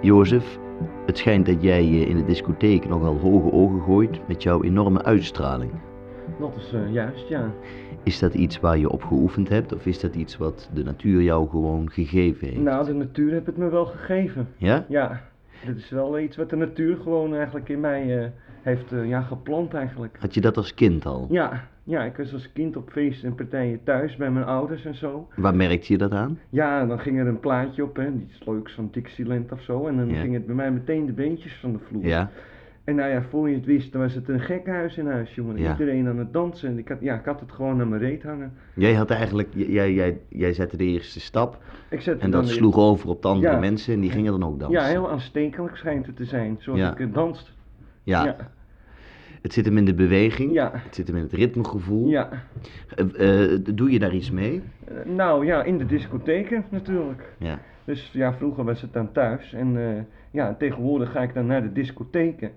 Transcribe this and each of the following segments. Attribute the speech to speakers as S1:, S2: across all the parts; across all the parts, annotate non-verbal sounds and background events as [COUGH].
S1: Jozef, het schijnt dat jij je in de discotheek nogal hoge ogen gooit met jouw enorme uitstraling.
S2: Dat is eh, juist, ja.
S1: Is dat iets waar je op geoefend hebt of is dat iets wat de natuur jou gewoon gegeven heeft?
S2: Nou, de natuur heeft het me wel gegeven.
S1: Ja?
S2: Ja, dit is wel iets wat de natuur gewoon eigenlijk in mij eh, heeft eh, ja, geplant eigenlijk.
S1: Had je dat als kind al?
S2: Ja, ja, ik was als kind op feesten en partijen thuis bij mijn ouders en zo.
S1: Waar merkte je dat aan?
S2: Ja, dan ging er een plaatje op, hè, iets leuks van Dixieland of zo. En dan
S1: Ja.
S2: ging het bij mij meteen de beentjes van de vloer.
S1: Ja?
S2: En nou ja, voor je het wist, dan was het een gekhuis in huis, jongen.
S1: Ja.
S2: Iedereen aan het dansen. En ik had, ja, ik had het gewoon aan mijn reet hangen.
S1: Jij had eigenlijk, j- jij, jij, jij zette de eerste stap
S2: Ik zette
S1: en
S2: dan
S1: dat
S2: weer-
S1: sloeg over op de andere
S2: Ja.
S1: mensen en die gingen dan ook dansen.
S2: Ja, heel aanstekelijk schijnt het te zijn, zoals
S1: Ja.
S2: ik het danste.
S1: Ja,
S2: ja.
S1: het zit hem in de beweging,
S2: Ja.
S1: het zit hem in het ritmegevoel.
S2: ja.
S1: Eh, eh, doe je daar iets mee?
S2: Eh, nou ja, in de discotheken natuurlijk.
S1: Ja.
S2: Dus ja, vroeger was het dan thuis. En eh, ja, tegenwoordig ga ik dan naar de discotheken.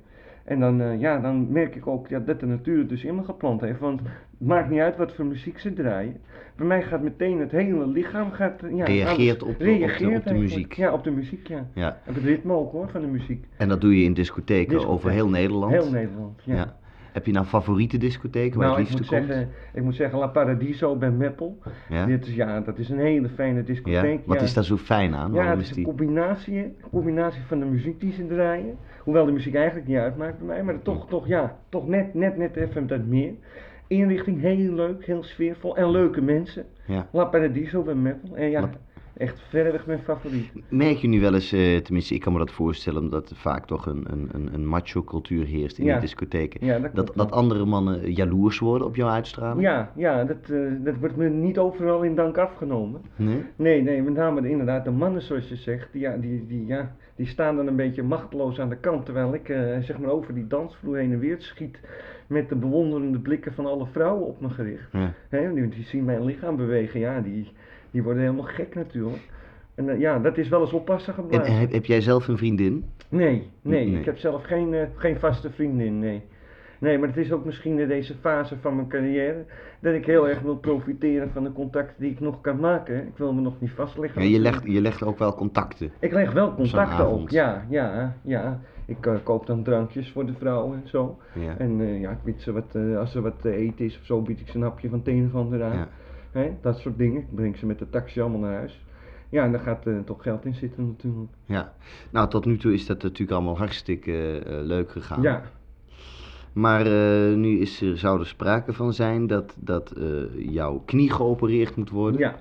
S2: En dan, eh, ja, dan merk ik ook ja, dat de natuur het dus in me geplant heeft. Want het maakt niet uit wat voor muziek ze draaien. Bij mij gaat meteen het hele lichaam... Gaat, eh, ja,
S1: Reageert
S2: alles-
S1: op de- op de- op de
S2: eigenlijk.
S1: muziek.
S2: Ja, op de muziek, ja.
S1: ja.
S2: En het ritme ook hoor, van de muziek.
S1: En dat doe je in discotheken
S2: Discotheek.
S1: over heel Nederland?
S2: Heel Nederland, ja.
S1: Ja. Heb je nou favoriete discotheken waar
S2: nou,
S1: je
S2: ik
S1: het
S2: moet,
S1: liefste komt?
S2: zeggen, ik moet zeggen La Paradiso bij Meppel.
S1: Ja?
S2: Dit is, ja, dat is een hele fijne
S1: Ja?
S2: discotheek.
S1: Wat
S2: ja.
S1: is daar zo fijn aan?
S2: Ja,
S1: Waarom
S2: het
S1: is
S2: is een
S1: die...
S2: combinatie, een combinatie van de muziek die ze draaien. Hoewel de muziek eigenlijk niet uitmaakt bij mij, maar toch, toch, ja, toch net, net, net even dat meer. Inrichting heel leuk, heel sfeervol en leuke mensen.
S1: Ja.
S2: La Paradiso bij Meppel. En ja,
S1: La-
S2: echt verreweg mijn favoriet.
S1: Merk je nu wel eens, eh, tenminste ik kan me dat voorstellen, omdat er vaak toch een, een, een- een macho cultuur heerst in
S2: Ja.
S1: die discotheken.
S2: Ja, dat
S1: Dat,
S2: klopt wel.
S1: dat andere mannen jaloers worden op jouw uitstraling?
S2: Ja, ja dat, eh, dat wordt me niet overal in dank afgenomen.
S1: Nee?
S2: Nee, nee, met name de, inderdaad de mannen zoals je zegt, die, ja, die, die, ja, die staan dan een beetje machteloos aan de kant, terwijl ik eh, zeg maar over die dansvloer heen en weer schiet met de bewonderende blikken van alle vrouwen op me gericht.
S1: Ja.
S2: Hè, die, die zien mijn lichaam bewegen, ja, die, die worden helemaal gek natuurlijk. En eh, ja, dat is wel eens oppassen
S1: En
S2: gebleven.
S1: heb, heb jij zelf een vriendin?
S2: Nee, nee,
S1: Nee.
S2: ik heb zelf geen, eh, geen vaste vriendin, nee. Nee, maar het is ook misschien in deze fase van mijn carrière dat ik heel erg wil profiteren van de contacten die ik nog kan maken. Ik wil me nog niet vastleggen.
S1: Ja, je, legt, je legt ook wel contacten.
S2: Ik leg wel contacten
S1: avond.
S2: op, ja, ja, ja. Ik eh, koop dan drankjes voor de vrouwen en zo.
S1: Ja.
S2: En eh, ja, ik bied ze wat, eh, als er wat te eten is of zo, bied ik ze een hapje van het een of ander aan.
S1: Ja.
S2: Hè, dat soort dingen. Ik breng ze met de taxi allemaal naar huis. Ja, en daar gaat eh, toch geld in zitten natuurlijk.
S1: ja. Nou, tot nu toe is dat natuurlijk allemaal hartstikke eh, eh, leuk gegaan.
S2: Ja,
S1: Maar eh, nu is er, zou er sprake van zijn dat, dat eh, jouw knie geopereerd moet worden.
S2: ja,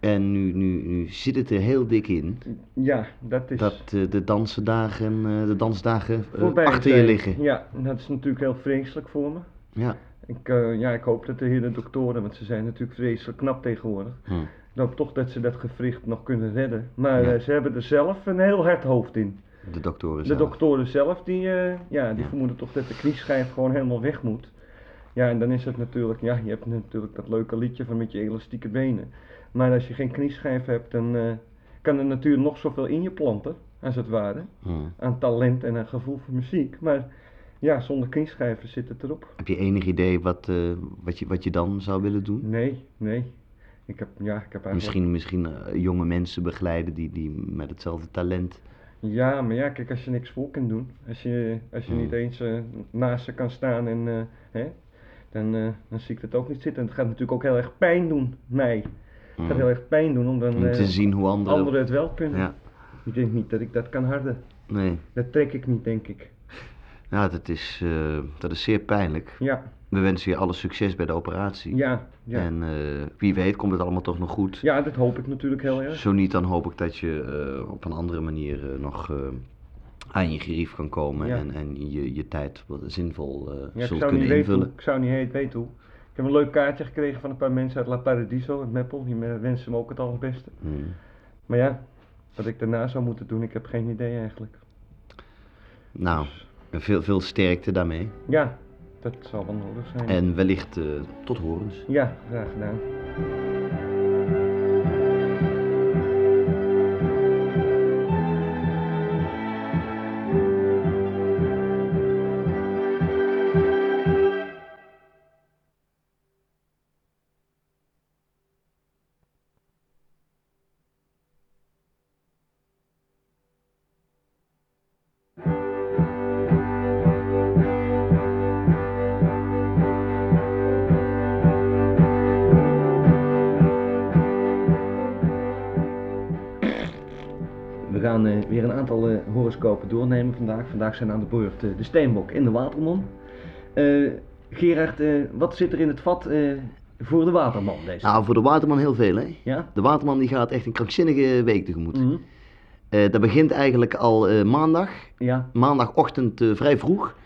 S1: En nu, nu, nu zit het er heel dik in
S2: ja, dat is...
S1: dat eh, de dansendagen, eh, de dansdagen eh,
S2: voorbij
S1: achter je
S2: zijn.
S1: liggen.
S2: Ja, dat is natuurlijk heel vreselijk voor me.
S1: Ja.
S2: Ik, eh, ja, ik hoop dat de heren doktoren, want ze zijn natuurlijk vreselijk knap tegenwoordig.
S1: Hm.
S2: Ik hoop toch dat ze dat gewricht nog kunnen redden. Maar
S1: Ja.
S2: eh, ze hebben er zelf een heel hard hoofd in.
S1: De doktoren
S2: De
S1: zelf.
S2: doktoren zelf, die, eh, ja, die
S1: Ja.
S2: vermoeden toch dat de knieschijf gewoon helemaal weg moet. Ja, en dan is het natuurlijk, ja, je hebt natuurlijk dat leuke liedje van met je elastieke benen. Maar als je geen knieschijf hebt, dan eh, kan de natuur nog zoveel in je planten, als het ware.
S1: Hm.
S2: Aan talent en aan gevoel voor muziek. Maar ja, zonder knieschijven zit het erop.
S1: Heb je enig idee wat, eh, wat, je, wat je dan zou willen doen?
S2: Nee, nee. Ik heb, ja, ik heb eigenlijk...
S1: Misschien, misschien eh, jonge mensen begeleiden die, die met hetzelfde talent.
S2: Ja, maar ja, kijk, als je niks voor kunt doen, als je, als je
S1: Hmm.
S2: niet eens eh, naast ze kan staan en eh, hè, dan, eh, dan zie ik dat ook niet zitten. En het gaat natuurlijk ook heel erg pijn doen, mij. Het gaat
S1: Mm.
S2: heel erg pijn doen om dan
S1: Om te
S2: eh,
S1: zien hoe anderen.
S2: anderen het wel kunnen.
S1: Ja,
S2: Ik denk niet dat ik dat kan harden.
S1: nee.
S2: Dat trek ik niet, denk ik.
S1: Ja, dat is, eh, dat is zeer pijnlijk.
S2: Ja,
S1: We wensen je alle succes bij de operatie.
S2: ja, ja.
S1: En eh, wie weet komt het allemaal toch nog goed.
S2: Ja, dat hoop ik natuurlijk heel erg.
S1: Zo niet, dan hoop ik dat je eh, op een andere manier eh, nog eh, aan je gerief kan komen
S2: Ja.
S1: en, en je, je tijd wat zinvol eh,
S2: Ja, ik
S1: zult
S2: zou niet
S1: kunnen
S2: weten hoe.
S1: invullen.
S2: Ik zou niet heet weten hoe. Ik heb een leuk kaartje gekregen van een paar mensen uit La Paradiso, uit Meppel. Die eh, wensen me ook het allerbeste.
S1: Hmm.
S2: Maar ja, wat ik daarna zou moeten doen, ik heb geen idee eigenlijk.
S1: Nou, veel, veel sterkte daarmee.
S2: Ja, dat zal wel nodig zijn.
S1: En wellicht eh, tot horens.
S2: Ja, graag gedaan. gaan eh, weer een aantal eh, horoscopen doornemen vandaag. Vandaag zijn aan de beurt eh, de steenbok en de waterman. Eh Gerard, eh, wat zit er in het vat eh, voor de waterman deze?
S1: Nou, voor de waterman heel veel, hè?
S2: Ja?
S1: De waterman die gaat echt een krankzinnige week tegemoet.
S2: Mhm.
S1: Eh, dat begint eigenlijk al eh, maandag.
S2: Ja.
S1: Maandagochtend eh, vrij vroeg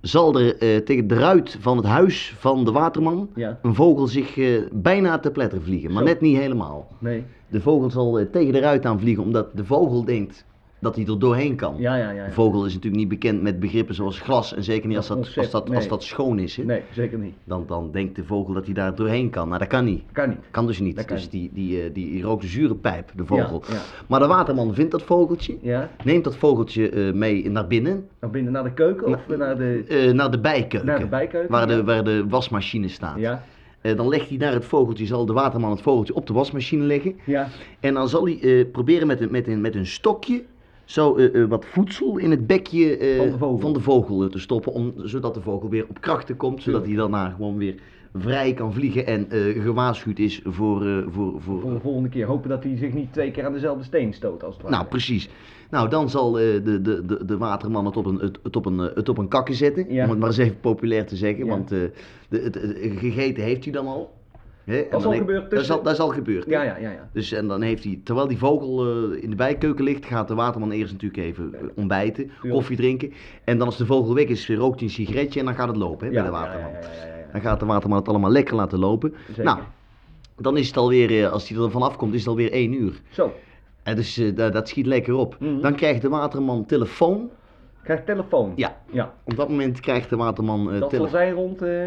S1: zal er eh, tegen de ruit van het huis van de waterman
S2: Ja.
S1: een vogel zich eh, bijna te pletteren vliegen, maar
S2: Zo.
S1: net niet helemaal.
S2: Nee.
S1: De vogel zal eh, tegen de ruit aan vliegen omdat de vogel denkt dat hij er doorheen kan.
S2: Ja, ja, ja.
S1: Een
S2: ja.
S1: vogel is natuurlijk niet bekend met begrippen zoals glas en zeker niet als dat, als
S2: Concept,
S1: dat,
S2: nee.
S1: als dat schoon is. hè.
S2: Nee, zeker niet.
S1: Dan, dan denkt de vogel dat hij daar doorheen kan, maar dat kan niet.
S2: Kan niet.
S1: Kan dus niet.
S2: Dat kan
S1: dus
S2: niet.
S1: die, die, eh, die rookt een zure pijp, de vogel.
S2: Ja, ja.
S1: Maar de waterman vindt dat vogeltje,
S2: Ja?
S1: neemt dat vogeltje eh, mee naar binnen,
S2: Dan binnen naar de keuken of naar de,
S1: eh, naar de bijkeuken.
S2: naar de bijkeuken?
S1: Waar de, waar de wasmachine staat.
S2: Ja.
S1: Eh, dan legt hij daar het vogeltje, zal de waterman het vogeltje op de wasmachine leggen.
S2: Ja.
S1: En dan zal hij eh, proberen met een, met, een, met een stokje zo eh, eh, wat voedsel in het bekje eh,
S2: Van de vogel.
S1: van de vogel, eh, te stoppen. Om, zodat de vogel weer op krachten komt. Zodat hij daarna gewoon weer vrij kan vliegen en eh, gewaarschuwd is voor... eh, voor, voor
S2: Voor de volgende keer hopen dat hij zich niet twee keer aan dezelfde steen stoot als het ware.
S1: nou, precies. Nou, dan zal eh, de, de, de, de waterman het op een, het, het op een, eh, het op een kakken zetten.
S2: Ja.
S1: Om het maar eens even populair te zeggen.
S2: Ja.
S1: Want eh, de, het, het- gegeten heeft hij dan al. Hè? En
S2: Dat is
S1: dan
S2: al
S1: he-
S2: gebeurd
S1: Dat is
S2: tussen-
S1: al, dat is al gebeurd. hè?
S2: Ja, ja, ja, ja.
S1: Dus en dan heeft hij, terwijl die vogel eh, in de bijkeuken ligt, gaat de waterman eerst natuurlijk even eh, ontbijten, koffie drinken. En dan als de vogel weg is, rookt hij een sigaretje en dan gaat het lopen hè,
S2: ja,
S1: bij de waterman.
S2: Ja, ja, ja, ja, ja.
S1: Dan gaat de waterman het allemaal lekker laten lopen.
S2: Zeker.
S1: Nou, dan is het alweer, eh, als hij er vanaf komt, is het alweer één uur.
S2: Zo,
S1: En dus eh, da- dat schiet lekker op.
S2: Mhm.
S1: Dan krijgt de waterman telefoon.
S2: krijg telefoon.
S1: Ja.
S2: ja.
S1: Op dat moment krijgt de waterman
S2: Dat zal
S1: telefoon.
S2: zijn rond eh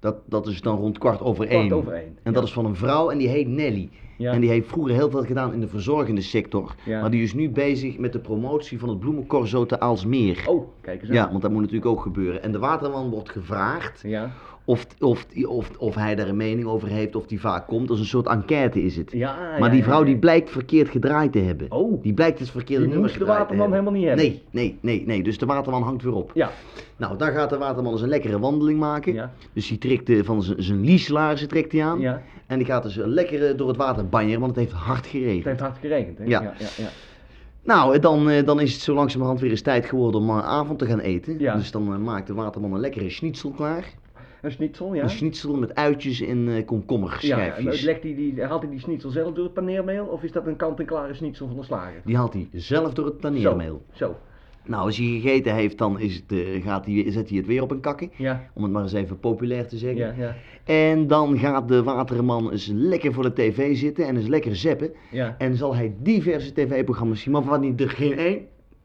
S1: dat, dat is dan rond kwart over
S2: kwart
S1: één.
S2: over één.
S1: En dat is van een vrouw en die heet Nelly.
S2: Ja.
S1: En die heeft vroeger heel veel gedaan in de verzorgende sector.
S2: Ja.
S1: Maar die is nu bezig met de promotie van het bloemencorso te Aalsmeer.
S2: Oh, kijk eens aan.
S1: Ja, want dat moet natuurlijk ook gebeuren. En de waterman wordt gevraagd
S2: Ja,
S1: of, of, of, of hij daar een mening over heeft, of die vaak komt. Als een soort enquête is het.
S2: ja ja,
S1: Maar die
S2: ja,
S1: vrouw
S2: ja.
S1: die blijkt verkeerd gedraaid te hebben.
S2: Oh,
S1: Die blijkt het verkeerde
S2: Die
S1: nummer
S2: moest de
S1: gedraaid te
S2: waterman helemaal niet
S1: Nee, nee, nee, nee. Dus de waterman hangt weer op.
S2: ja.
S1: Nou, dan gaat de waterman eens een lekkere wandeling maken.
S2: Ja.
S1: Dus die trekt eh, van zijn- zijn lieslaarzen trekt hij aan.
S2: ja.
S1: En die gaat dus eh, lekker eh, door het water banjeren, want het heeft hard
S2: Het
S1: geregend.
S2: heeft hard geregend, hè?
S1: Ja.
S2: Ja, ja, ja.
S1: Nou, eh, dan, eh, dan is het zo langzamerhand weer eens tijd geworden om eh, avond te gaan eten.
S2: Ja.
S1: Dus dan eh, maakt de waterman een lekkere schnitzel klaar.
S2: Een schnitzel, ja.
S1: Een schnitzel met uitjes en eh
S2: Ja, en
S1: komkommerschijfjes.
S2: legt hij die, haalt hij die schnitzel zelf door het paneermeel of is dat een kant-en-klare schnitzel van de slager?
S1: die haalt hij zelf door het paneermeel.
S2: Zo, zo. Nou,
S1: Nou, als hij gegeten heeft, dan is het, eh, gaat hij, zet hij het weer op een kakken.
S2: ja,
S1: Om het maar eens even populair te zeggen.
S2: ja, ja,
S1: En dan gaat de waterman eens lekker voor de tv zitten en eens lekker zeppen.
S2: ja.
S1: En zal hij diverse tv-programma's zien, maar van die er geen één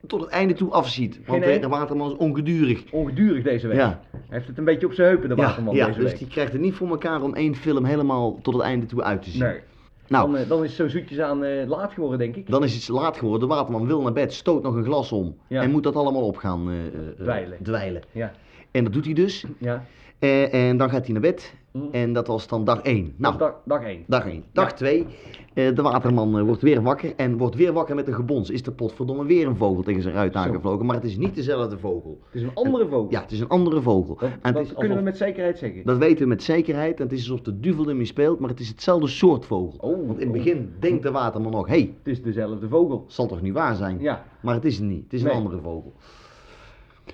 S1: tot het einde toe afziet. Want
S2: één?
S1: de waterman is ongedurig.
S2: Ongedurig deze week.
S1: Ja.
S2: Hij heeft het een beetje op zijn heupen, de waterman,
S1: ja,
S2: deze
S1: dus
S2: week.
S1: die krijgt het niet voor elkaar om één film helemaal tot het einde toe uit te zien.
S2: Nee.
S1: Nou,
S2: Dan, eh, dan is het zo zoetjes aan eh, laat geworden, denk ik.
S1: dan is het laat geworden. De waterman wil naar bed, stoot nog een glas om
S2: Ja.
S1: en moet dat allemaal op gaan eh, eh, eh,
S2: Dweilen. Ja,
S1: En dat doet hij dus.
S2: ja.
S1: Eh, en dan gaat hij naar bed.
S2: Mhm.
S1: En dat was dan dag één. Nou,
S2: Nou. Dag, dag één.
S1: Dag 1. Dag 2. de waterman eh, wordt weer wakker en wordt weer wakker met een gebons. Is de potverdomme weer een vogel tegen zijn ruit aangevlogen, maar het is niet dezelfde vogel.
S2: Het is een andere vogel.
S1: Ja, het is een andere vogel.
S2: Dat,
S1: En
S2: dat
S1: het is
S2: kunnen
S1: alsof-
S2: we met zekerheid zeggen.
S1: dat weten we met zekerheid en het is alsof de duvel ermee speelt, maar het is hetzelfde soort vogel.
S2: Oh,
S1: Want in het
S2: oh.
S1: begin denkt de waterman nog, hé, hey,
S2: Het is dezelfde vogel.
S1: zal toch niet waar zijn?
S2: Ja,
S1: Maar het is het niet, het is een
S2: Nee.
S1: andere vogel.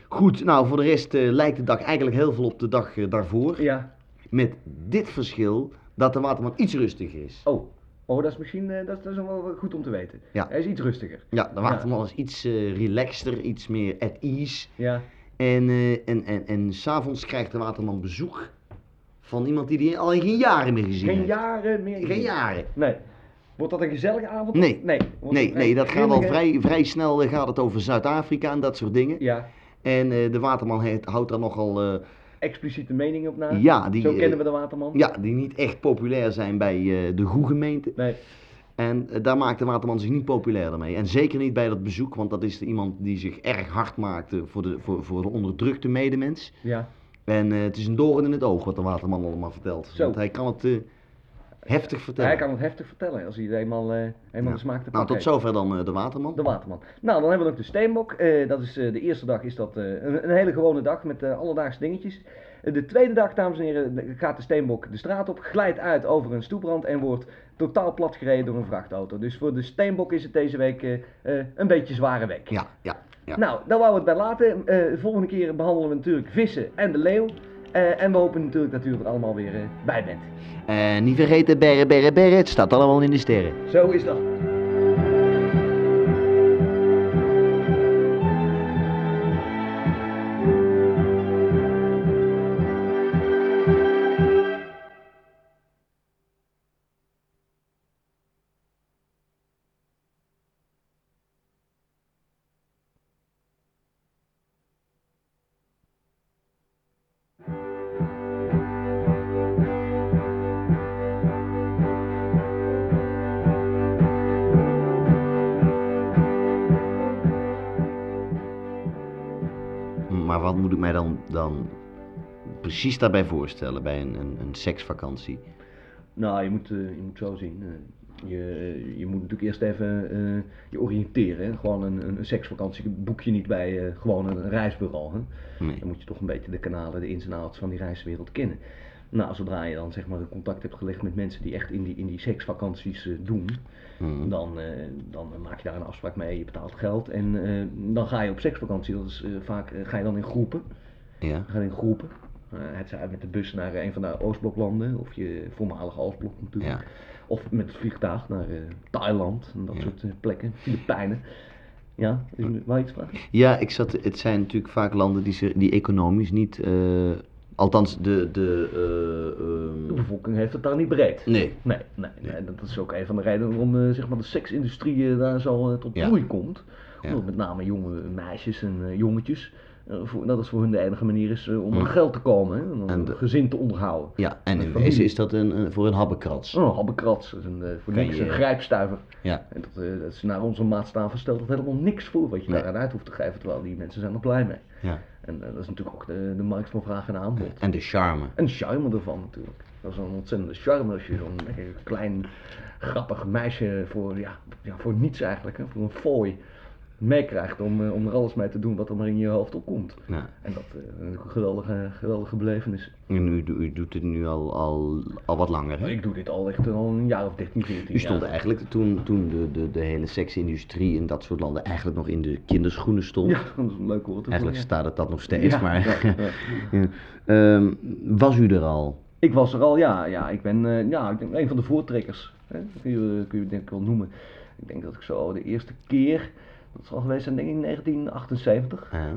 S1: Goed, nou voor de rest eh, lijkt de dag eigenlijk heel veel op de dag eh, daarvoor.
S2: ja.
S1: Met dit verschil dat de waterman iets rustiger is.
S2: Oh, oh dat is misschien eh, dat, is- dat is wel wel goed om te weten.
S1: Ja.
S2: Hij is iets rustiger.
S1: Ja, de waterman is iets eh relaxter, iets meer at ease.
S2: Ja,
S1: En, eh, en, en, en s'avonds krijgt de waterman bezoek van iemand die hij al in geen jaren meer gezien
S2: geen
S1: heeft.
S2: jaren meer.
S1: Geen jaren.
S2: Nee. Wordt dat een gezellige avond?
S1: Nee.
S2: Nee, Wordt
S1: Nee,
S2: het
S1: nee,
S2: een
S1: dat gaat al
S2: grillige-
S1: vrij, vrij snel eh, gaat het over Zuid-Afrika en dat soort dingen.
S2: Ja,
S1: En eh, de waterman heeft, houdt daar nogal, eh,
S2: expliciete mening op na.
S1: ja, die,
S2: Zo
S1: eh,
S2: kennen we de waterman.
S1: ja, die niet echt populair zijn bij eh, de goegemeente.
S2: Nee,
S1: En eh, daar maakt de waterman zich niet populair mee. En zeker niet bij dat bezoek, want dat is iemand die zich erg hard maakte voor de, voor, voor de onderdrukte medemens.
S2: ja.
S1: En eh, het is een doorn in het oog wat de waterman allemaal vertelt.
S2: Zo.
S1: Want hij kan het eh, Heftig vertellen.
S2: Hij kan het heftig vertellen als hij er eenmaal, eh, eenmaal
S1: Ja.
S2: de smaak te
S1: Nou,
S2: pakken
S1: tot zover dan eh, de Waterman.
S2: De Waterman. Nou, dan hebben we ook de Steenbok. Eh, dat is, eh, de eerste dag is dat eh, een, een hele gewone dag met eh, alledaagse dingetjes. Eh, de tweede dag, dames en heren, de- gaat de Steenbok de straat op, glijdt uit over een stoeprand en wordt totaal platgereden door een vrachtauto. Dus voor de Steenbok is het deze week eh, eh, een beetje zware week.
S1: Ja, ja, ja.
S2: Nou, daar wou we het bij laten. Eh, de volgende keer behandelen we natuurlijk vissen en de leeuw. Eh, en we hopen natuurlijk dat u er allemaal weer eh, bij bent.
S1: En Eh, niet vergeten, berre, berre, berre, het staat allemaal in de sterren.
S2: Zo is dat.
S1: Maar wat moet ik mij dan, dan precies daarbij voorstellen bij een, een, een seksvakantie?
S2: Nou, je moet, eh, je moet zo zien. eh, je, je moet natuurlijk eerst even eh, je oriënteren. Hè? Gewoon een, een, een seksvakantie boek je niet bij eh, gewoon een reisbureau. Hè?
S1: Nee.
S2: Dan moet je toch een beetje de kanalen, de ins en outs van die reiswereld kennen. Nou, zodra je dan zeg maar contact hebt gelegd met mensen die echt in die, in die seksvakanties eh, doen,
S1: Hm.
S2: dan, eh, dan maak je daar een afspraak mee, je betaalt geld en eh, dan ga je op seksvakantie. Dat is eh, vaak, eh, ga je dan in groepen.
S1: Ja.
S2: We gaan in groepen. Eh, het zijn met de bus naar eh, een van de Oostbloklanden, of je voormalige Oostblok natuurlijk.
S1: Ja.
S2: Of met het vliegtuig naar eh, Thailand en dat
S1: Ja.
S2: soort eh, plekken, Filipijnen. Ja, is er wel iets vragen?
S1: Ja, ik zat, het zijn natuurlijk vaak landen die, ze, die economisch niet. eh, althans, de. de eh,
S2: De
S1: ehm,
S2: bevolking heeft het daar niet breed.
S1: nee.
S2: Nee, nee, nee, dat is ook een van de redenen waarom eh, zeg maar de seksindustrie eh, daar zo eh, tot
S1: Ja.
S2: bloei komt.
S1: Ja.
S2: Omdat met name jonge meisjes en eh, jongetjes, eh, voor, dat is voor hun de enige manier is eh, om aan geld te komen hè, en om
S1: En
S2: een
S1: de-
S2: gezin te onderhouden.
S1: Ja, en
S2: Met
S1: in
S2: familie.
S1: wezen is dat een, een- voor een habbekrats.
S2: Oh, habbekrats, dat is een, eh, voor
S1: Kan
S2: niks
S1: je-
S2: een grijpstuiver.
S1: Ja.
S2: En dat, eh, dat is naar onze maatstaven stelt dat helemaal niks voor wat je
S1: Nee.
S2: daaraan uit hoeft te geven, terwijl die mensen zijn er blij mee.
S1: ja.
S2: En eh, dat is natuurlijk ook de, de markt van vraag en aanbod.
S1: En de charme.
S2: En de charme ervan natuurlijk. Dat is een ontzettende charme als je zo'n lekker klein grappig meisje voor, ja, ja, voor niets eigenlijk, hè, voor een fooi, meekrijgt om, eh, om er alles mee te doen wat er maar in je hoofd opkomt.
S1: Ja.
S2: En dat eh, een geweldige, geweldige belevenis.
S1: Nou, En u, do- u doet het nu al, al, al wat langer. Hè?
S2: Ik doe dit al echt eh, al een jaar of 13, 14
S1: U stond
S2: jaar.
S1: eigenlijk toen, toen de, de, de hele seksindustrie in dat soort landen eigenlijk nog in de kinderschoenen stond.
S2: Ja, dat is een leuk woord.
S1: Eigenlijk staat het dat nog steeds,
S2: Ja,
S1: maar.
S2: ja, ja.
S1: [LAUGHS] Ja. Ehm, was u er al?
S2: Ik was er al, ja, ja ik ben eh, ja, ik denk, een van de voortrekkers. Hè? Dat kun je, kun je denk ik wel noemen. Ik denk dat ik zo de eerste keer, dat zal geweest zijn denk ik in 1978,
S1: Ja.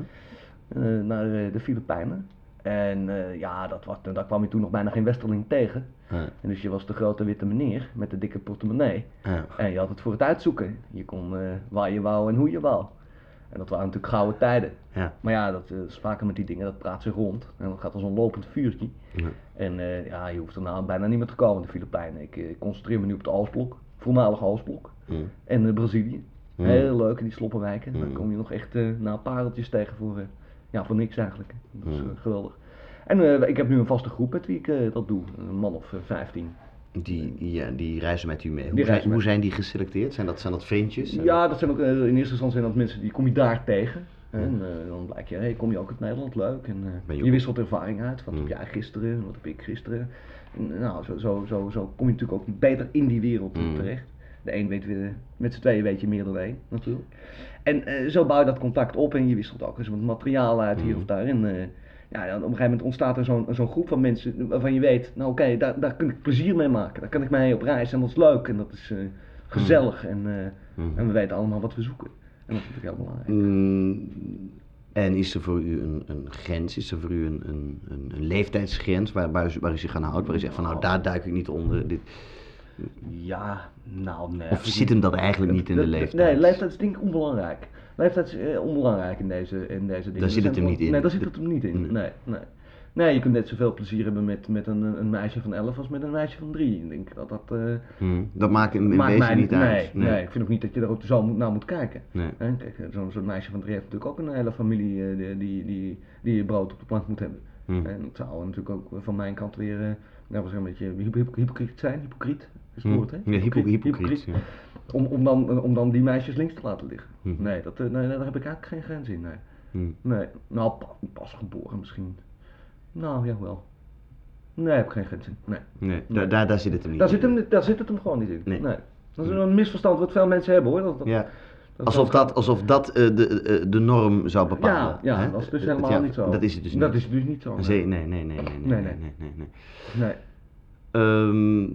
S2: eh, naar eh, de Filipijnen. En eh, ja, dat was, daar kwam je toen nog bijna geen westerling tegen.
S1: Ja.
S2: En dus je was de grote witte meneer met de dikke portemonnee.
S1: Ja.
S2: En je had het voor het uitzoeken. Je kon eh, waar je wou en hoe je wou. En dat waren natuurlijk gouden tijden.
S1: Ja.
S2: Maar ja, dat eh, is vaker met die dingen, dat praat zich rond. En dat gaat als een lopend vuurtje.
S1: Ja.
S2: En eh, ja, je hoeft er nou bijna niet meer te komen in de Filipijnen. Ik eh, concentreer me nu op het Oostblok, voormalig Oostblok.
S1: Mm.
S2: En eh, Brazilië.
S1: Mm.
S2: Heel leuk, in die sloppenwijken. Daar
S1: Mm.
S2: kom je nog echt eh nou, pareltjes tegen voor, eh, ja, voor niks eigenlijk. Dat is eh,
S1: Mm.
S2: geweldig. En eh, ik heb nu een vaste groep met wie ik eh, dat doe. Een man of eh, 15.
S1: Die, ja, die reizen met u mee. Hoe,
S2: Die
S1: zijn,
S2: reizen
S1: hoe
S2: met-
S1: zijn die geselecteerd? Zijn dat, zijn dat vriendjes? Zijn
S2: Ja, dat zijn ook eh, in eerste instantie zijn dat mensen die kom je daar tegen. En eh, dan blijkt je, hey, kom je ook uit Nederland, leuk. En eh,
S1: Ben je
S2: je,
S1: ook-
S2: wisselt ervaring uit. Wat
S1: Mm.
S2: heb jij gisteren, wat heb ik gisteren. En, eh, nou, zo, zo, zo, zo kom je natuurlijk ook beter in die wereld eh,
S1: Mm.
S2: terecht. De een weet weer, met z'n tweeën weet je meer dan één, natuurlijk. En eh, zo bouw je dat contact op en je wisselt ook eens wat materiaal uit hier
S1: Mm.
S2: of daar. En eh, ja, dan op een gegeven moment ontstaat er zo'n zo'n groep van mensen waarvan je weet, nou oké, daar, daar kun ik plezier mee maken. Daar kan ik mee op reis en dat is leuk en dat is eh, gezellig. En, eh,
S1: Mhm.
S2: en we weten allemaal wat we zoeken. En dat is natuurlijk heel belangrijk.
S1: Mm. En is er voor u een, een grens? Is er voor u een, een, een, een leeftijdsgrens waar, waar, u, waar u zich aan houdt? Waar u zegt van nou, daar duik ik niet onder. Dit.
S2: Ja, nou nee.
S1: Of zit hem dat eigenlijk niet in de
S2: Dat- dat-
S1: leeftijd?
S2: Nee, leeftijd is denk ik onbelangrijk. Leeftijd is eh, onbelangrijk in deze, in deze dingen.
S1: Daar zit
S2: Er
S1: het
S2: zijn
S1: hem niet
S2: wel-
S1: in.
S2: Nee, daar zit het hem niet in.
S1: Nee.
S2: Nee, nee. Nee, je kunt net zoveel plezier hebben met, met een, een meisje van 11 als met een meisje van 3. Ik denk dat dat eh,
S1: Mm. Dat maakt in, in
S2: maakt
S1: wezen
S2: mij
S1: niet uit.
S2: Nee, nee. ik vind ook niet dat je er ook zo moet- naar moet kijken.
S1: Nee.
S2: Hè, Kijk, eh, zo'n zo'n meisje van 3 heeft natuurlijk ook een hele familie eh, die, die, die, die brood op de plank moet hebben.
S1: Mm.
S2: En dat zou natuurlijk ook van mijn kant weer eh, dat was een beetje hypo- hypo- hypocriet zijn, hypocriet is het
S1: Hm.
S2: woord hè?
S1: Ja, hypo- hypocriet. ja.
S2: Om, om, dan, om dan die meisjes links te laten liggen.
S1: Hm.
S2: Nee, dat, eh, nee, daar heb ik eigenlijk geen grens in. Nee,
S1: Hm.
S2: nee. nou pa- pas geboren misschien. Nou, jawel. Nee, heb ik geen grens in. Nee.
S1: Nee, daar, daar, daar zit het hem niet
S2: Daar,
S1: in.
S2: zit hem, daar zit het hem gewoon niet in.
S1: Nee. Mhm.
S2: Dat is een misverstand wat veel mensen hebben hoor. Dat, dat-
S1: Ja.
S2: dat-
S1: Alsof dat, alsof dat eh, de, eh, de norm zou bepalen.
S2: Ja, ja
S1: hè?
S2: dat is dus
S1: Eh,
S2: helemaal
S1: ja,
S2: niet zo.
S1: Dat is het dus niet.
S2: Dat is het dus niet zo. nee.
S1: Zee- nee, nee, nee, nee, nee, nee,
S2: Nee, nee.
S1: nee, nee, nee.
S2: Nee.
S1: Ehm,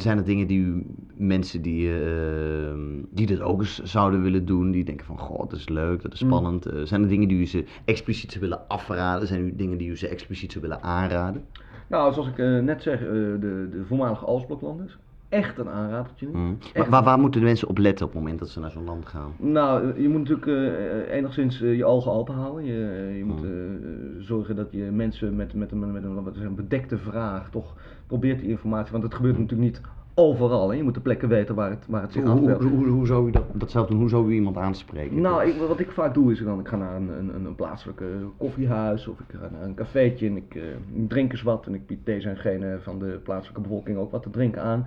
S1: zijn er dingen die u, mensen die, ehm, die dat ook eens zouden willen doen, die denken van, goh, dat is leuk, dat is
S2: Mm.
S1: spannend. Eh, zijn er dingen die u ze expliciet zou willen afraden? Zijn er dingen die u ze expliciet zou willen aanraden?
S2: Nou, zoals ik eh, net zeg, eh, de, de voormalige Oostbloklanders. Echt een aanradertje. nu.
S1: Mm.
S2: Echt.
S1: Wa- Waar, waar moeten de mensen op letten op het moment dat ze naar zo'n land gaan?
S2: Nou, eh, je moet natuurlijk eh, eh, enigszins eh, je ogen open houden. Je, eh, je moet
S1: Hmm.
S2: eh, zorgen dat je mensen met, met, een, met, een, met een bedekte vraag toch probeert die informatie. Want het gebeurt natuurlijk niet overal. Hè. Je moet de plekken weten waar het, waar het zich
S1: Hoe, hoe,
S2: afspeelt.
S1: hoe, hoe zou u dat, dat zelf doen? Hoe zou u iemand aanspreken?
S2: Nou, ik, wat ik vaak doe is dan, ik ga naar een, een, een plaatselijke koffiehuis of ik ga naar een cafeetje en ik eh, drink eens wat en ik bied deze en gene van de plaatselijke bevolking ook wat te drinken aan.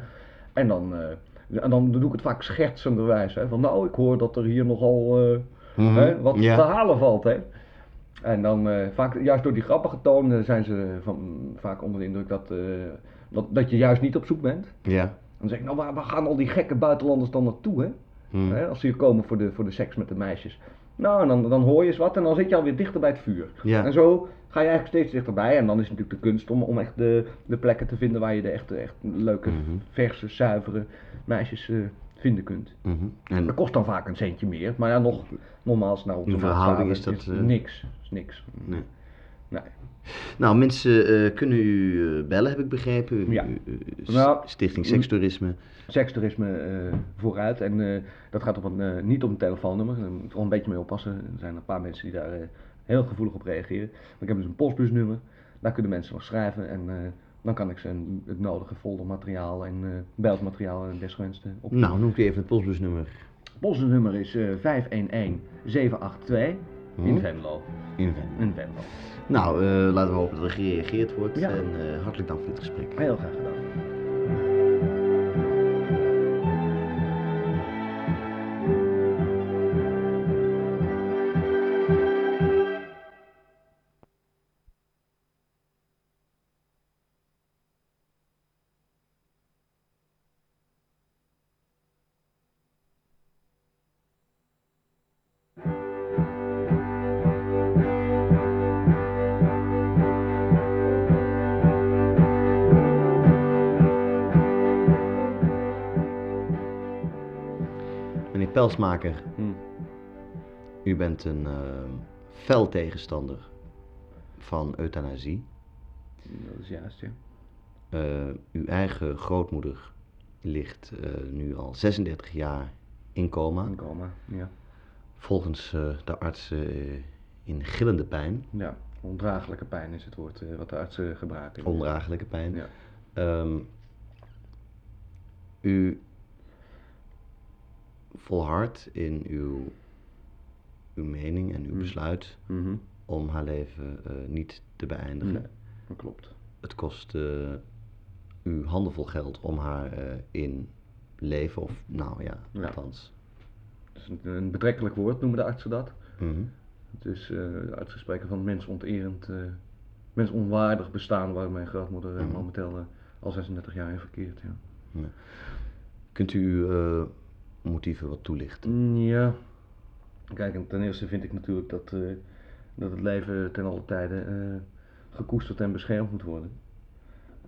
S2: En dan, eh, en dan doe ik het vaak schertsenderwijs, hè, van nou, ik hoor dat er hier nogal eh,
S1: Mhm.
S2: hè, wat
S1: Ja.
S2: te halen valt, hè. En dan eh, vaak, juist door die grappige toon, eh, zijn ze van, vaak onder de indruk dat, eh, dat, dat je juist niet op zoek bent.
S1: Ja.
S2: Dan zeg ik, nou, waar, waar gaan al die gekke buitenlanders dan naartoe, hè?
S1: Mm.
S2: Hè, als ze hier komen voor de, voor de seks met de meisjes. Nou, en dan, dan hoor je eens wat en dan zit je alweer dichter bij het vuur.
S1: Ja.
S2: En zo ga je eigenlijk steeds dichterbij. En dan is het natuurlijk de kunst om, om echt de, de plekken te vinden waar je de echte, echt leuke,
S1: Mhm.
S2: verse, zuivere meisjes eh, vinden kunt.
S1: Mhm. En
S2: Dat kost dan vaak een centje meer. Maar ja, nog, nogmaals, nou, op
S1: In
S2: de
S1: verhouding is
S2: maatstaven
S1: dat, eh,
S2: Niks, is niks.
S1: Nee.
S2: Nee.
S1: Nou, mensen eh, kunnen u eh, bellen, heb ik begrepen. U-
S2: Ja.
S1: u- u- s-
S2: Nou,
S1: Stichting
S2: mm.
S1: Sekstoerisme.
S2: Sekstoerisme eh, vooruit. En eh, dat gaat op een, eh, niet om een telefoonnummer. Daar moet je wel een beetje mee oppassen. Er zijn een paar mensen die daar eh, heel gevoelig op reageren. Maar ik heb dus een postbusnummer. Daar kunnen mensen nog schrijven. En eh, dan kan ik ze een- het nodige foldermateriaal en eh beeldmateriaal en desgewenste op.
S1: Nou, noemt u even het postbusnummer
S2: Het postbusnummer is eh 511-782
S1: Hm?
S2: in Venlo.
S1: in Venlo.
S2: In Venlo.
S1: Nou, eh, laten we hopen dat er gereageerd wordt.
S2: Ja.
S1: En eh, hartelijk dank voor dit gesprek.
S2: Heel graag gedaan.
S1: Meneer Pelsmaker,
S2: Hm.
S1: u bent een eh, fel tegenstander van euthanasie.
S2: Dat is juist, ja.
S1: Eh, uw eigen grootmoeder ligt eh, nu al 36 jaar in coma.
S2: In coma. Ja.
S1: Volgens eh, de artsen eh, in gillende pijn.
S2: ja. Ondraaglijke pijn is het woord eh, wat de artsen gebruiken.
S1: Ondraaglijke pijn.
S2: Ja.
S1: Ehm, u volhardt in uw, uw mening en uw
S2: Mm.
S1: besluit
S2: Mhm.
S1: om haar leven eh, niet te beëindigen.
S2: Nee, dat klopt.
S1: Het kost eh, u handenvol geld om haar eh, in leven, of nou ja,
S2: Ja.
S1: althans.
S2: Dat is een, een betrekkelijk woord, noemen de artsen dat.
S1: Mhm.
S2: Het is eh uit te spreken van mensonterend, eh mensonwaardig bestaan waar mijn grootmoeder eh,
S1: Mhm.
S2: momenteel eh, al 36 jaar in verkeert. Ja.
S1: Kunt u uw eh, motieven wat toelichten?
S2: Mm, ja. Kijk, en ten eerste vind ik natuurlijk dat, eh, dat het leven ten alle tijde eh, gekoesterd en beschermd moet worden.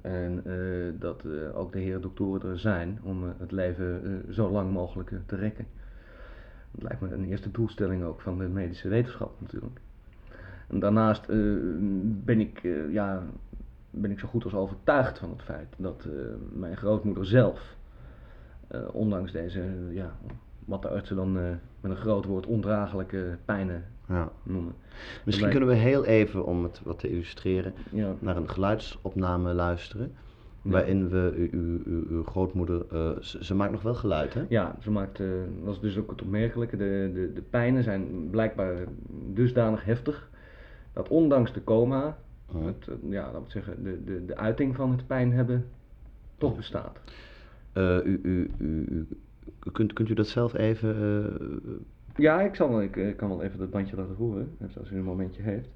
S2: En eh, dat eh, ook de heren doktoren er zijn om eh, het leven eh, zo lang mogelijk eh, te rekken. Dat lijkt me een eerste doelstelling ook van de medische wetenschap natuurlijk. En daarnaast eh, ben, ik, eh, ja, ben ik zo goed als overtuigd van het feit dat eh, mijn grootmoeder zelf, eh, ondanks deze eh, ja, wat de artsen dan eh, met een groot woord ondraaglijke pijnen
S1: Ja.
S2: noemen.
S1: Misschien
S2: Erbij.
S1: kunnen we heel even, om het wat te illustreren,
S2: Ja,
S1: naar een geluidsopname luisteren. Waarin we u- u- u- uw grootmoeder. eh, ze, ze maakt nog wel geluid, hè?
S2: ja ze maakt, eh, dat is dus ook het opmerkelijke, de, de, de pijnen zijn blijkbaar dusdanig heftig dat ondanks de coma
S1: Mhm.
S2: het, eh, ja, laat ik zeggen, de, de, de uiting van het pijn hebben toch bestaat.
S1: Eh, u, u, u, u- kunt, kunt u dat zelf even... eh,
S2: Ja, ik, zal, wel- ik, eh, kan wel even dat bandje laten horen, even als u een momentje heeft.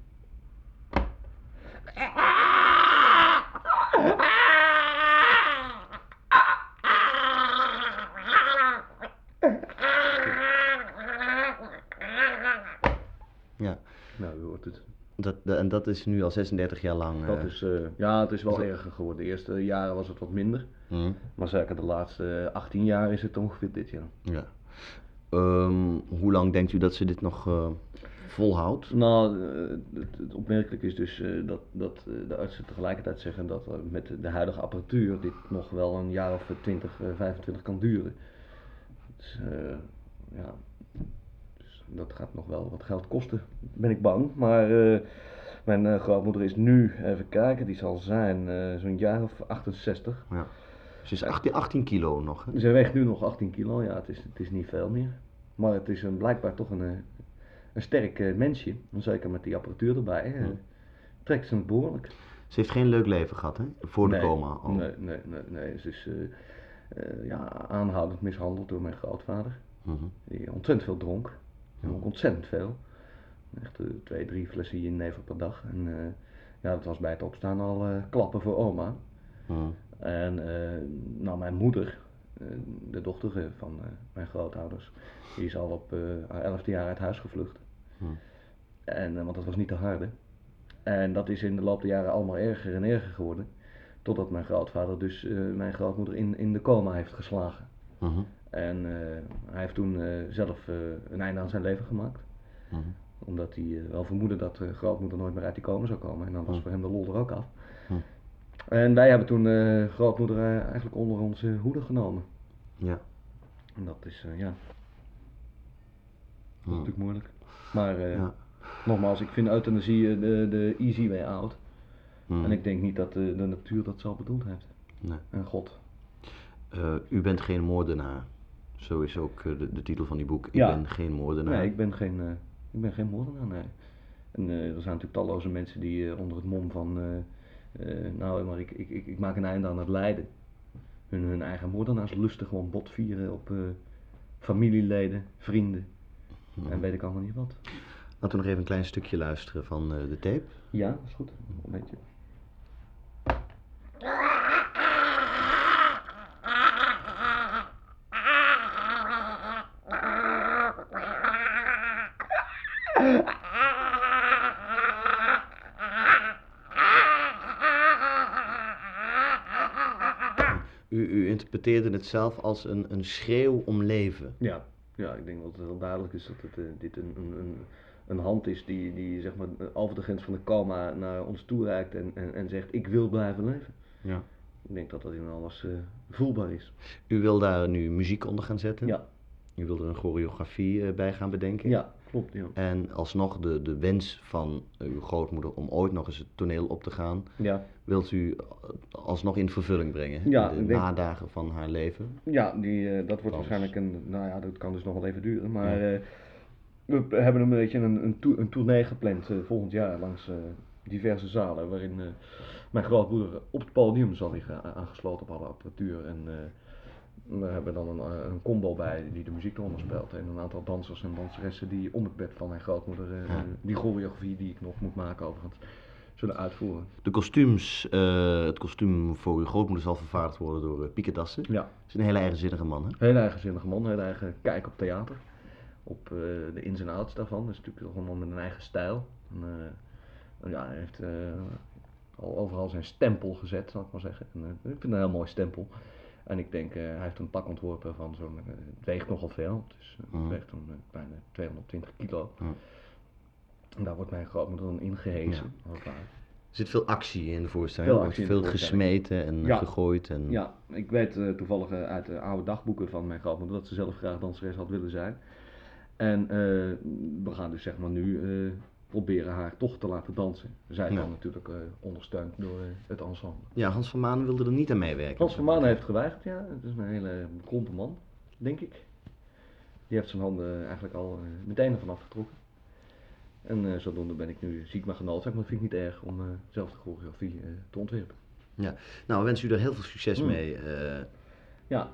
S1: ja,
S2: Nou, u hoort het.
S1: dat, dat- en dat is nu al 36 jaar lang... eh,
S2: Dat is, eh, ja, het is wel
S1: Is dat-
S2: erger geworden. De eerste jaren was het wat minder.
S1: hm,
S2: Maar zeker de laatste eh, 18 jaar is het ongeveer dit jaar.
S1: ja. Ehm, hoe lang denkt u dat ze dit nog eh, volhoudt?
S2: Nou, eh, het, het opmerkelijke is dus eh, dat, dat eh, de artsen tegelijkertijd zeggen dat eh, met de huidige apparatuur dit nog wel een jaar of 20, eh, 25 kan duren. Dus, eh, ja, dus dat gaat nog wel wat geld kosten, ben ik bang. Maar eh, mijn eh, grootmoeder is nu, even kijken, die zal zijn eh, zo'n jaar of 68.
S1: Ja. Ze is 18, 18 kilo nog, hè?
S2: Ze weegt nu nog 18 kilo, ja, het is, het is niet veel meer. Maar het is een, blijkbaar toch een, eh, een sterk eh, mensje. Zeker met die apparatuur erbij. eh, Trekt ze het behoorlijk.
S1: Ze heeft geen leuk leven gehad, hè? Voor de
S2: Nee,
S1: coma oh. al.
S2: Nee, nee, nee. nee. Ze is eh, eh, ja, aanhoudend mishandeld door mijn grootvader.
S1: Mhm.
S2: Die ontzettend veel dronk. Hij
S1: Ja.
S2: dronk ontzettend veel. Echt eh, twee, drie flessen jenever per dag. En eh, ja, dat was bij het opstaan al eh, klappen voor oma.
S1: Mhm.
S2: En eh, nou, mijn moeder, eh, de dochter eh, van eh, mijn grootouders, die is al op eh, haar elfde jaar uit huis gevlucht.
S1: Hmm.
S2: En, eh, want dat was niet te harde. En dat is in de loop der jaren allemaal erger en erger geworden. Totdat mijn grootvader dus eh, mijn grootmoeder in, in de coma heeft geslagen.
S1: Mhm.
S2: En eh, hij heeft toen eh, zelf eh, een einde aan zijn leven gemaakt.
S1: Mhm.
S2: Omdat hij eh, wel vermoedde dat eh, grootmoeder nooit meer uit die coma zou komen. En dan was
S1: Hm.
S2: voor hem de lol er ook af.
S1: Hm.
S2: En wij hebben toen eh, grootmoeder eh, eigenlijk onder onze hoede genomen.
S1: Ja.
S2: En dat is, eh, ja, dat is
S1: Mhm.
S2: natuurlijk moeilijk. Maar eh,
S1: Ja.
S2: nogmaals, ik vind euthanasie eh, de, de easy way out.
S1: Mhm.
S2: En ik denk niet dat eh, de natuur dat zo bedoeld heeft.
S1: Nee.
S2: En God.
S1: Eh, u bent geen moordenaar. Zo is ook eh, de, de titel van die boek. Ik
S2: Ja.
S1: ben geen moordenaar.
S2: Nee, ik ben geen, eh, ik ben geen moordenaar, nee. En eh, er zijn natuurlijk talloze mensen die eh, onder het mom van, eh, eh, nou, maar ik, ik, ik, ik maak een einde aan het lijden. Hun, hun eigen moordenaarslusten gewoon bot vieren op eh, familieleden, vrienden
S1: Mhm.
S2: en weet ik allemaal niet wat.
S1: Laten we nog even een klein stukje luisteren van eh, de tape.
S2: Ja, dat is goed. Een beetje.
S1: U, u interpreteerde het zelf als een, een schreeuw om leven.
S2: Ja, ja, ik denk dat het wel duidelijk is dat het, eh, dit een, een, een, een hand is die, die zeg maar, eh, over de grens van de coma naar ons toe reikt en, en, en zegt ik wil blijven leven.
S1: Ja.
S2: Ik denk dat dat in alles eh, voelbaar is.
S1: U wil daar nu muziek onder gaan zetten.
S2: Ja.
S1: U wil er een choreografie eh, bij gaan bedenken.
S2: Ja, klopt. Ja.
S1: En alsnog de, de wens van eh, uw grootmoeder om ooit nog eens het toneel op te gaan,
S2: Ja.
S1: wilt u eh, alsnog in vervulling brengen.
S2: Ja,
S1: in de
S2: ik denk-
S1: nadagen van haar leven.
S2: Ja, die, eh, dat wordt
S1: Dans.
S2: waarschijnlijk een. Nou ja, dat kan dus nog wel even duren. Maar eh, we hebben een beetje een, een, to- een tournee gepland eh, volgend jaar langs eh, diverse zalen. Waarin eh, mijn grootmoeder op het podium zal liggen, a- aangesloten op alle apparatuur. En eh, we hebben dan een, eh, een combo bij die de muziek eronder speelt. En een aantal dansers en danseressen die om het bed van mijn grootmoeder. eh,
S1: Ja.
S2: die choreografie die ik nog moet maken, overigens, zullen uitvoeren.
S1: De kostuums, eh, het kostuum voor uw grootmoeder zal vervaardigd worden door eh, Pieke Dassen. Dat
S2: Ja.
S1: is een hele eigenzinnige man, hè?
S2: Heel eigenzinnige man, heel eigen kijk op theater. Op eh, de ins en outs daarvan. Dat is natuurlijk toch een man met een eigen stijl. En, eh, ja, hij heeft eh, al overal zijn stempel gezet, zal ik maar zeggen. En, eh, ik vind het een heel mooi stempel. En ik denk, eh, hij heeft een pak ontworpen van zo'n. eh, het weegt nogal veel. Dus is eh,
S1: Mhm.
S2: het weegt een bijna 220 kilo.
S1: Ja.
S2: En daar wordt mijn grootmoeder dan ingehezen. als het ware.
S1: Er zit veel actie in de voorstelling.
S2: Veel
S1: Er wordt
S2: actie in de
S1: veel
S2: voorstelling.
S1: gesmeten en
S2: Ja.
S1: gegooid. En...
S2: Ja, ik weet eh, toevallig eh, uit de oude dagboeken van mijn grootmoeder dat ze zelf graag danseres had willen zijn. En eh, we gaan dus zeg maar nu eh, proberen haar toch te laten dansen. Zij
S1: Ja.
S2: dan natuurlijk eh, ondersteund door eh, het ensemble.
S1: Ja, Hans van Manen wilde er niet aan meewerken.
S2: Hans van Manen heeft geweigerd, ja. Het is een hele bekrompen man, eh, denk ik. Die heeft zijn handen eigenlijk al eh, meteen ervan afgetrokken. En eh, zodoende ben ik nu ziek maar genald, zeg maar dat vind ik niet erg om eh, zelf de choreografie eh, te ontwerpen.
S1: Nou, we wensen u daar heel veel succes
S2: Mm.
S1: mee. eh.
S2: Ja,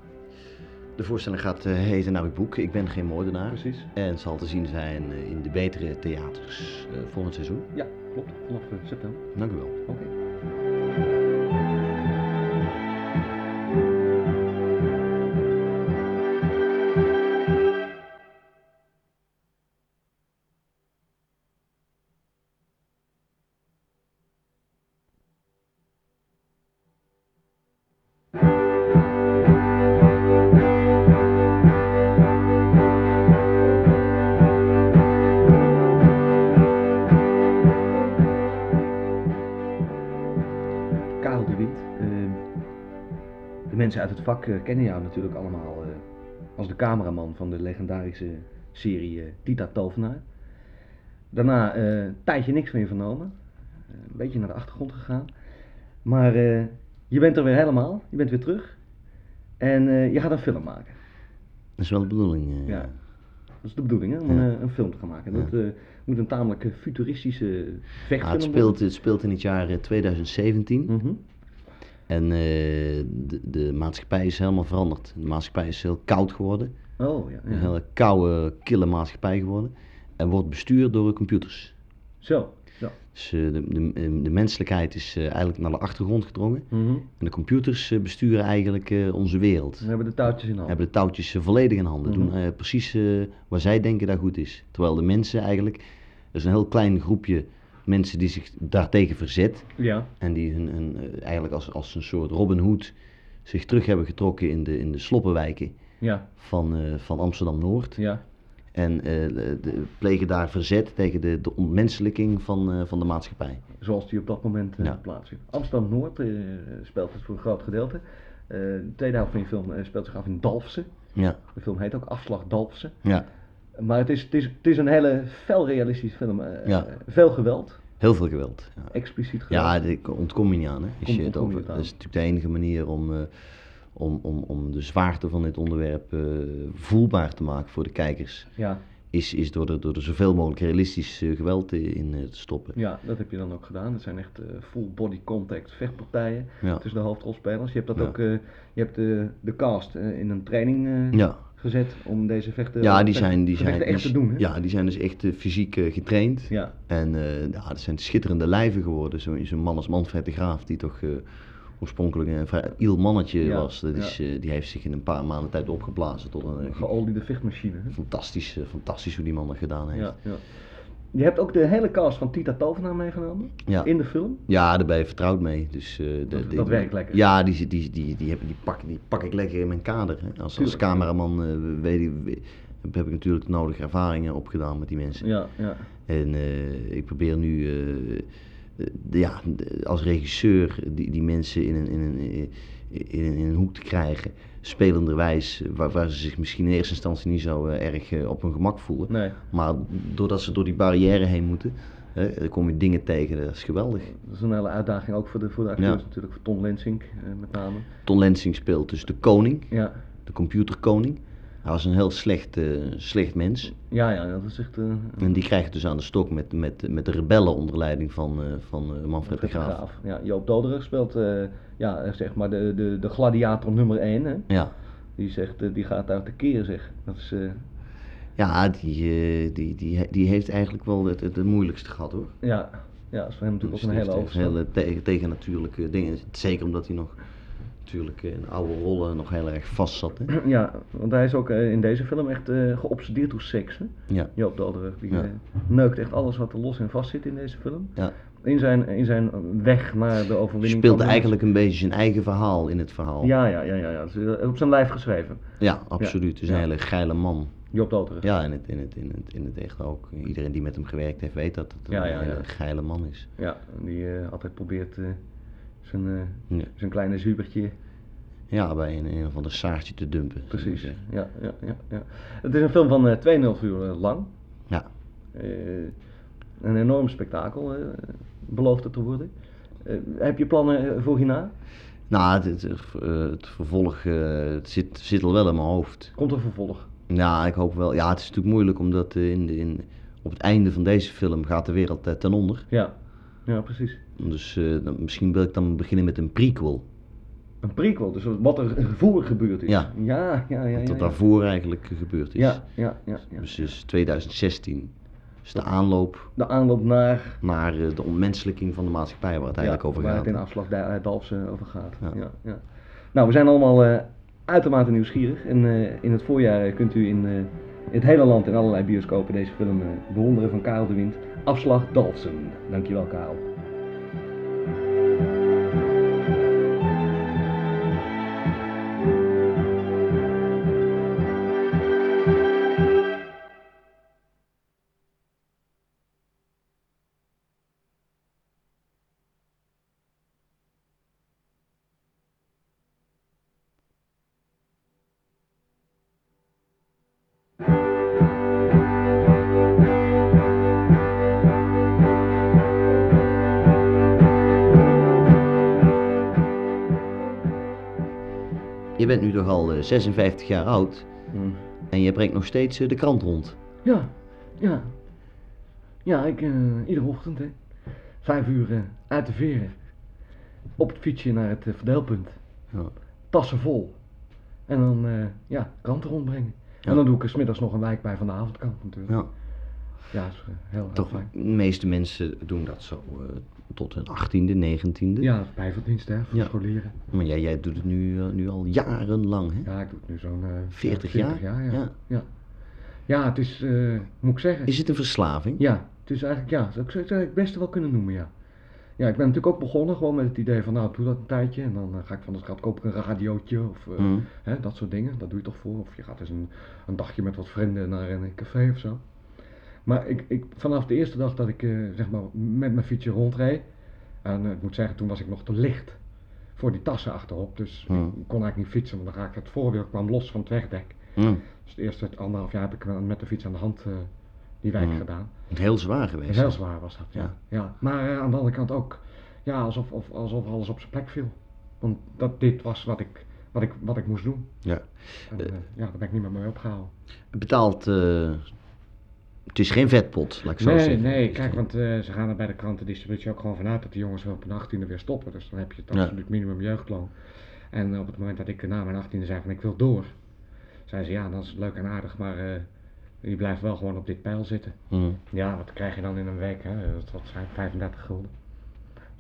S1: de voorstelling gaat eh, heten Naar uw boek. Ik ben geen moordenaar.
S2: precies.
S1: En zal te zien zijn eh, in de betere theaters eh, volgend seizoen.
S2: Ja, klopt. Vanaf eh, september.
S1: Dank u wel.
S2: Oké. Karel de Wind. eh, de mensen uit het vak eh, kennen jou natuurlijk allemaal eh, als de cameraman van de legendarische serie eh, Tita Tovenaar. Daarna eh, een tijdje niks van je vernomen. Eh, een beetje naar de achtergrond gegaan. Maar eh, je bent er weer helemaal. Je bent weer terug. En eh, je gaat een film maken.
S1: Dat is wel de bedoeling. eh.
S2: Ja. Dat is de bedoeling, hè? Om
S1: Ja.
S2: een, eh, een film te gaan maken. Dat eh, moet een tamelijk eh, futuristische vechtfilm
S1: Ah, het,
S2: worden.
S1: speelt, het speelt in het jaar eh, 2017.
S2: Mhm.
S1: En eh, de, de maatschappij is helemaal veranderd. De maatschappij is heel koud geworden.
S2: Oh, ja. ja.
S1: Een hele koude, kille maatschappij geworden. En wordt bestuurd door computers.
S2: Zo. zo.
S1: Dus eh, de, de, de menselijkheid is eh, eigenlijk naar de achtergrond gedrongen.
S2: Mhm.
S1: En de computers eh, besturen eigenlijk eh, onze wereld.
S2: We hebben de touwtjes in handen.
S1: Hebben de touwtjes eh, volledig in handen.
S2: Mhm.
S1: Doen eh, precies eh, waar zij denken dat goed is. Terwijl de mensen eigenlijk, er is een heel klein groepje mensen die zich daartegen verzet.
S2: Ja.
S1: En die hun, hun, eh, eigenlijk als, als een soort Robin Hood zich terug hebben getrokken in de, in de sloppenwijken
S2: Ja,
S1: van, eh, van Amsterdam-Noord.
S2: ja.
S1: En eh, de- de- plegen daar verzet tegen de, de ontmenselijking van, eh, van de maatschappij.
S2: Zoals die op dat moment eh,
S1: Ja.
S2: plaatsvindt. Amsterdam Noord eh, speelt het voor een groot gedeelte. Eh, de tweede helft van je film eh, speelt zich af in Dalfsen.
S1: Ja,
S2: De film heet ook Afslag Dalfsen.
S1: ja.
S2: Maar het is, het is, het is een hele fel realistische film. eh,
S1: Ja.
S2: eh, veel geweld,
S1: heel veel geweld. Ja,
S2: expliciet geweld.
S1: ja daar ontkom je niet aan. Hè, als
S2: Kom-
S1: je het
S2: ontkom je
S1: over,
S2: het aan.
S1: dat is natuurlijk de enige manier om, eh, om, om, om de zwaarte van dit onderwerp eh, voelbaar te maken voor de kijkers.
S2: ja,
S1: Is, is door, er, door er zoveel mogelijk realistisch eh, geweld in eh, te stoppen.
S2: ja, dat heb je dan ook gedaan. Het zijn echt eh, full body contact vechtpartijen
S1: Ja,
S2: tussen de hoofdrolspelers. Je hebt dat
S1: Ja.
S2: ook, eh, je hebt de, de cast eh, in een training eh,
S1: ja.
S2: gezet om deze vechten,
S1: Ja, die
S2: vecht-
S1: zijn, die zijn
S2: gevechten eh, echt
S1: die-
S2: te doen. Hè?
S1: Ja, die zijn dus echt eh, fysiek eh, getraind.
S2: ja,
S1: En eh ja, dat zijn schitterende lijven geworden. Zo- Zo'n man als Manfred de Graaf, die toch eh, oorspronkelijk een vrij iel mannetje
S2: Ja,
S1: was. Dat
S2: ja.
S1: is, eh, die heeft zich in een paar maanden tijd opgeblazen tot een
S2: een
S1: eh,
S2: geoliede vechtmachine. hè?
S1: fantastisch, eh, fantastisch hoe die man dat gedaan heeft.
S2: Ja, ja. Je hebt ook de hele cast van Tita Tovenaar meegenomen
S1: Ja.
S2: in de film.
S1: Ja, daar ben je vertrouwd mee. Dus, eh, de-
S2: Dat-
S1: de-
S2: dat werkt lekker.
S1: Ja, die, die, die, die, heb, die, pak, die pak ik lekker in mijn kader. Hè. Als, als
S2: Tuurlijk.
S1: cameraman eh, weet, ik- we- heb ik natuurlijk de nodige ervaringen opgedaan met die mensen.
S2: Ja, ja.
S1: En eh, ik probeer nu eh, eh, de- ja, de- als regisseur die, die mensen in een, in, een, eh, in, een, in een hoek te krijgen, spelenderwijs, eh, waar, waar ze zich misschien in eerste instantie niet zo eh, erg eh, op hun gemak voelen.
S2: Nee,
S1: Maar doordat ze door die barrière heen moeten, hè, dan kom je dingen tegen, dat is geweldig.
S2: dat is een hele uitdaging ook voor de, voor de acteurs
S1: Ja.
S2: natuurlijk, voor Ton Lensink eh, met name.
S1: Ton Lensing speelt dus de koning,
S2: Ja,
S1: de computerkoning. Hij was een heel slecht, eh, slecht mens.
S2: ja, ja dat is echt... eh,
S1: En die krijgt het dus aan de stok met, met, met de rebellen onder leiding van, eh, van eh, Manfred de Graaf.
S2: Ja, Joop Doderig speelt eh, ja, zeg maar de, de, de gladiator nummer 1. Hè?
S1: Ja,
S2: Die, zegt, eh, die gaat daar tekeer, zeg. Dat is, eh,
S1: Ja, die, eh, die, die, die heeft eigenlijk wel het, het, het moeilijkste gehad hoor.
S2: ja, ja, dat is voor hem natuurlijk
S1: Dus
S2: ook een
S1: die
S2: hele
S1: heeft echt
S2: overstap.
S1: hele tegen, tegennatuurlijke dingen. Zeker omdat hij nog natuurlijk eh, in oude rollen nog heel erg vast zat. Hè?
S2: Ja, want hij is ook eh, in deze film echt eh, geobsedeerd door seks, hè?
S1: Ja.
S2: Joop Dalderweg, die
S1: Ja.
S2: eh, neukt echt alles wat er los en vast zit in deze film.
S1: Ja.
S2: In zijn, in zijn weg naar de
S1: Hij
S2: overwinning.
S1: speelde
S2: kwam hij-
S1: eigenlijk een beetje zijn eigen verhaal in het verhaal.
S2: Ja, ja, ja, ja, ja. Het is, eh, op zijn lijf geschreven.
S1: Ja, absoluut. Het is een
S2: Ja.
S1: hele geile man.
S2: Job Doderig.
S1: Ja, in het, in, het, in, het, in het echt ook. Iedereen die met hem gewerkt heeft weet dat het een
S2: Ja, ja,
S1: hele
S2: ja.
S1: geile man is.
S2: Ja, die eh, altijd probeert eh, zijn, eh,
S1: Ja,
S2: zijn kleine zubertje.
S1: ja bij een, een of ander saartje te dumpen. zou ik
S2: Precies.
S1: zeggen.
S2: Ja, ja, ja, ja. Het is een film van eh 2,5 uur eh, lang.
S1: Ja.
S2: Eh, een enorm spektakel eh, belooft het te worden. Eh, heb je plannen eh, voor hierna?
S1: Nou, het, het, eh, het vervolg eh, het zit, zit al wel in mijn hoofd.
S2: Komt er vervolg?
S1: Ja, ik hoop wel. Ja, het is natuurlijk moeilijk omdat eh, in de, in, op het einde van deze film gaat de wereld eh, ten onder.
S2: Ja. Ja, precies.
S1: Dus eh, dan, misschien wil ik dan beginnen met een prequel.
S2: Een prequel, dus wat er voor gebeurd is.
S1: Ja.
S2: Ja, ja, ja. ja,
S1: Wat er
S2: ja.
S1: daarvoor eigenlijk eh, gebeurd is.
S2: Ja, ja, ja, ja.
S1: Dus, dus 2016 is Dus de aanloop
S2: De aanloop naar...
S1: naar eh, de ontmenselijking van de maatschappij waar het
S2: ja,
S1: eigenlijk over
S2: Waar
S1: gaat.
S2: het in afslag Da- Dalfsen over gaat. Ja.
S1: Ja.
S2: Ja, Nou, we zijn allemaal eh, uitermate nieuwsgierig. En eh, in het voorjaar eh, kunt u in eh, het hele land in allerlei bioscopen deze film eh, bewonderen van Karel de Wind. Afslag Dalfsen. Dankjewel, Karel.
S1: Je bent nu toch al eh, 56 jaar oud en je brengt nog steeds eh, de krant rond.
S2: Ja, ja. Ja, ik, eh, iedere ochtend, hè. Vijf uur eh, uit de veren. Op het fietsje naar het eh, verdeelpunt.
S1: Ja.
S2: Tassen vol. En dan, eh, ja, kranten rondbrengen.
S1: Ja.
S2: En dan doe ik er smiddags nog een wijk bij van de avondkant natuurlijk.
S1: Ja.
S2: Ja, is eh, heel heel
S1: Toch,
S2: fijn.
S1: de meeste mensen doen dat zo eh, tot hun 18e, 19e.
S2: Ja, bijverdienst hè, voor
S1: Ja.
S2: scholieren.
S1: Maar jij, jij doet het nu, eh, nu al jarenlang, hè?
S2: Ja, ik doe het nu zo'n... eh,
S1: 40 jaar?
S2: ja. Ja,
S1: Ja.
S2: ja. ja het is, eh, moet ik zeggen...
S1: Is het een verslaving?
S2: Ja, het is eigenlijk, ja, zou ik zou het eigenlijk best wel kunnen noemen, ja. Ja, ik ben natuurlijk ook begonnen gewoon met het idee van, nou, ik doe dat een tijdje en dan eh, ga ik van de straat koop ik een radiootje of eh,
S1: Mm.
S2: hè, dat soort dingen. Dat doe je toch voor. Of je gaat eens een, een dagje met wat vrienden naar een café of zo. Maar ik, ik, vanaf de eerste dag dat ik eh, zeg maar, met mijn fietsje rondreed, en eh, ik moet zeggen, toen was ik nog te licht voor die tassen achterop. Dus
S1: Mm.
S2: ik kon eigenlijk niet fietsen, want dan raakte het voorwiel kwam los van het wegdek.
S1: Hm.
S2: Dus het eerste anderhalf jaar heb ik wel met de fiets aan de hand eh, die wijk
S1: Mm.
S2: gedaan.
S1: Het is heel zwaar geweest.
S2: Heel zwaar was dat, ja.
S1: Ja.
S2: ja. Maar eh, aan de andere kant ook, ja, alsof, of, alsof alles op zijn plek viel. Want dat, dit was wat ik, wat ik, wat ik moest doen.
S1: Ja.
S2: En, eh, ja, daar ben ik niet meer mee opgehouden.
S1: Het betaalt. eh, het is geen vetpot, laat ik zo
S2: nee,
S1: zeggen. Het
S2: nee,
S1: is
S2: kijk,
S1: geen-
S2: want eh, ze gaan er bij de krantendistributie ook gewoon vanuit dat de jongens wel op hun 18e weer stoppen. Dus dan heb je het
S1: Ja.
S2: absoluut minimum jeugdloon. En op het moment dat ik na mijn 18e zei van ik wil door, zei ze ja, dat is leuk en aardig, maar eh, je blijft wel gewoon op dit pijl zitten.
S1: Hm.
S2: Ja, wat krijg je dan in een week? Hè? Dat dat zijn 35 gulden.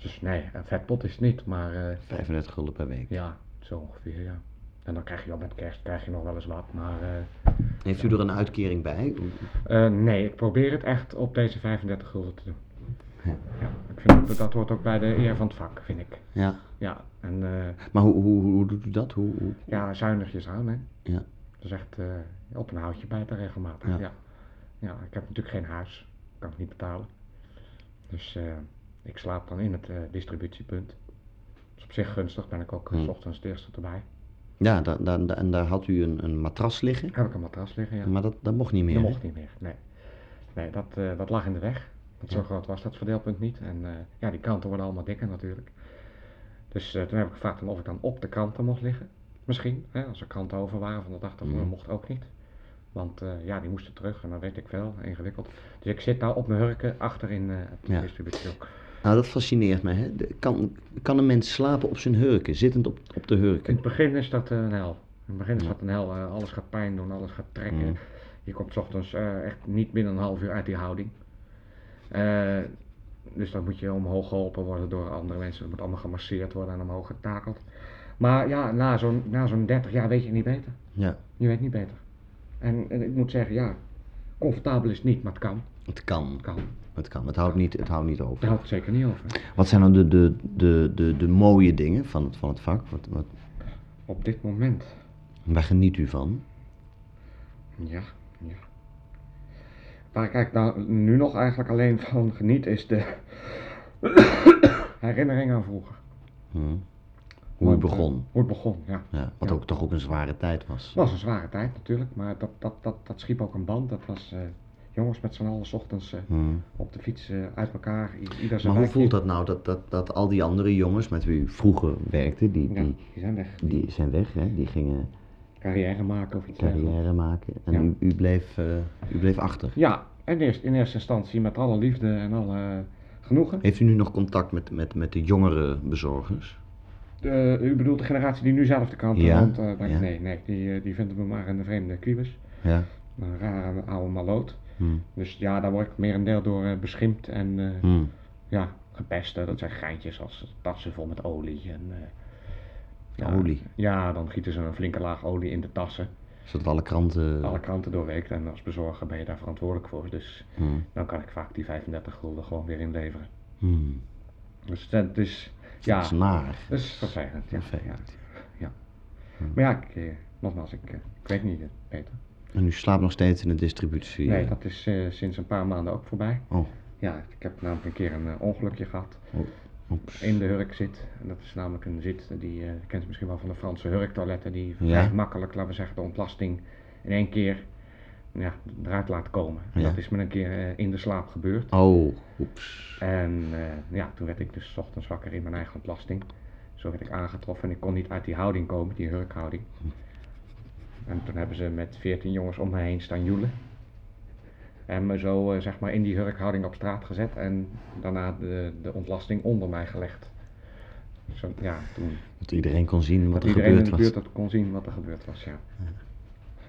S2: Dus nee, een vetpot is het niet, maar eh,
S1: 35 gulden per week.
S2: ja, zo ongeveer, ja. En dan krijg je wel met kerst krijg je nog wel eens wat, maar eh,
S1: Heeft u er een uitkering bij?
S2: eh, nee, ik probeer het echt op deze 35 gulden te doen.
S1: Ja.
S2: Ja, ik vind dat, dat hoort ook bij de eer van het vak, vind ik.
S1: Ja.
S2: Ja, en eh,
S1: Maar hoe, hoe, hoe doet u dat? Hoe, hoe-
S2: ja, zuinigjes aan, hè.
S1: Ja.
S2: Dat is echt eh, op een houtje bijten regelmatig, ja.
S1: Ja.
S2: ja. ik heb natuurlijk geen huis, kan het niet betalen. Dus eh, ik slaap dan in het eh, distributiepunt. Dat is op zich gunstig, ben ik ook eh,
S1: Hmm.
S2: s ochtends de eerste erbij.
S1: Ja, daar, daar, daar- en daar had u een, een matras liggen,
S2: heb ik een matras liggen, ja.
S1: maar dat, dat mocht niet meer.
S2: Dat
S1: hè?
S2: mocht niet meer, nee. Nee, dat, eh, dat lag in de weg. Want zo
S1: Ja.
S2: groot was dat verdeelpunt niet. En eh, ja, die kanten worden allemaal dikker natuurlijk. Dus eh, toen heb ik gevraagd of ik dan op de kanten mocht liggen. Misschien, hè, als er kanten over waren van de dag daarvoor,
S1: Mhm.
S2: mocht ook niet. Want eh, ja, die moesten terug en dan weet ik wel, ingewikkeld. Dus ik zit nou op mijn hurken achter in eh, het
S1: Ja.
S2: distributiehok.
S1: Nou, dat fascineert me. Hè? De- kan, kan een mens slapen op zijn hurken, zittend op, op de
S2: In
S1: hurken?
S2: het begin is dat eh, een hel. In het begin is
S1: Ja.
S2: dat een hel. eh, alles gaat pijn doen, alles gaat trekken.
S1: Mhm.
S2: Je komt 's ochtends eh, echt niet binnen een half uur uit die houding. Eh, dus dan moet je omhoog geholpen worden door andere mensen. Het moet allemaal gemasseerd worden en omhoog getakeld. Maar ja, na zo'n, na zo'n 30 jaar weet je niet beter.
S1: Ja,
S2: Je weet niet beter. En, en ik moet zeggen, ja, comfortabel is het niet, maar het kan.
S1: het kan.
S2: Het kan.
S1: Het kan. Het houdt niet, het houdt niet over.
S2: Daar houdt het zeker niet over.
S1: Wat zijn dan de, de, de, de, de mooie dingen van het, van het vak? Wat, wat,
S2: Op dit moment
S1: waar geniet u van?
S2: Ja, ja. Waar ik eigenlijk nou, nu nog eigenlijk alleen van geniet is de [COUGHS] herinnering aan vroeger.
S1: Hm? Hoe u
S2: Want, eh,
S1: begon?
S2: hoe het begon, ja.
S1: Ja, wat
S2: ja.
S1: ook toch ook een zware tijd was.
S2: Het was een zware tijd natuurlijk, maar dat, dat, dat, dat schiep ook een band. Dat was eh, jongens met z'n allen 's ochtends eh,
S1: Hm.
S2: op de fiets eh, uit elkaar, i- ieder zijn
S1: Maar hoe
S2: wijkje.
S1: voelt dat nou dat, dat, dat al die andere jongens met wie u vroeger werkte, die,
S2: Ja,
S1: die,
S2: die zijn weg.
S1: die zijn weg, hè? die gingen
S2: Carrière maken of iets dergelijks.
S1: carrière maken en
S2: Ja.
S1: u, u, bleef, eh, u bleef achter.
S2: Ja, En eerst, in eerste instantie met alle liefde en alle eh, genoegen.
S1: Heeft u nu nog contact met, met, met de jongere bezorgers?
S2: De, u bedoelt de generatie die nu zelf de kant
S1: Ja,
S2: hand eh, brengt?
S1: ja.
S2: Nee, nee die, eh, die vindt me maar een vreemde kiebus.
S1: Ja.
S2: Een rare oude maloot.
S1: Hm.
S2: Dus ja, daar word ik merendeel door eh, beschimpt en eh,
S1: Hm.
S2: ja, gepest. hè. Dat zijn geintjes als tassen vol met olie. En, eh, ja,
S1: Olie.
S2: Ja, dan gieten ze een flinke laag olie in de tassen.
S1: Zodat alle kranten...
S2: Alle kranten doorweekt en als bezorger ben je daar verantwoordelijk voor. Dus
S1: Hm.
S2: dan kan ik vaak die 35 gulden gewoon weer inleveren.
S1: Hm.
S2: Dus dat is,
S1: Dat
S2: ja,
S1: is naar.
S2: dat is vervelend. Ja, ja.
S1: Vervelend.
S2: Maar ja, ik, eh, nogmaals, ik, eh, ik weet niet, eh, Peter.
S1: En u slaapt nog steeds in de distributie?
S2: Nee,
S1: eh?
S2: dat is eh, sinds een paar maanden ook voorbij.
S1: Oh,
S2: Ja, ik heb namelijk een keer een eh, ongelukje gehad.
S1: oeps.
S2: In de hurkzit. En dat is namelijk een zit, die eh, je kent het misschien wel van de Franse hurktoiletten. Die
S1: Ja.
S2: vrij makkelijk, laten we zeggen, de ontlasting in één keer ja, eruit laat komen. En
S1: Ja.
S2: Dat is me een keer eh, in de slaap gebeurd.
S1: Oh, oeps.
S2: En eh, ja, toen werd ik dus 's ochtends wakker in mijn eigen ontlasting. Zo werd ik aangetroffen en ik kon niet uit die houding komen, die hurkhouding. En toen hebben ze met veertien jongens om mij heen staan joelen. En me zo eh, zeg maar in die hurkhouding op straat gezet en daarna de, de ontlasting onder mij gelegd. Zo, ja, toen
S1: Dat iedereen kon zien wat
S2: dat
S1: er
S2: iedereen in
S1: gebeurd
S2: de
S1: was.
S2: buurt dat kon zien wat er gebeurd was, ja.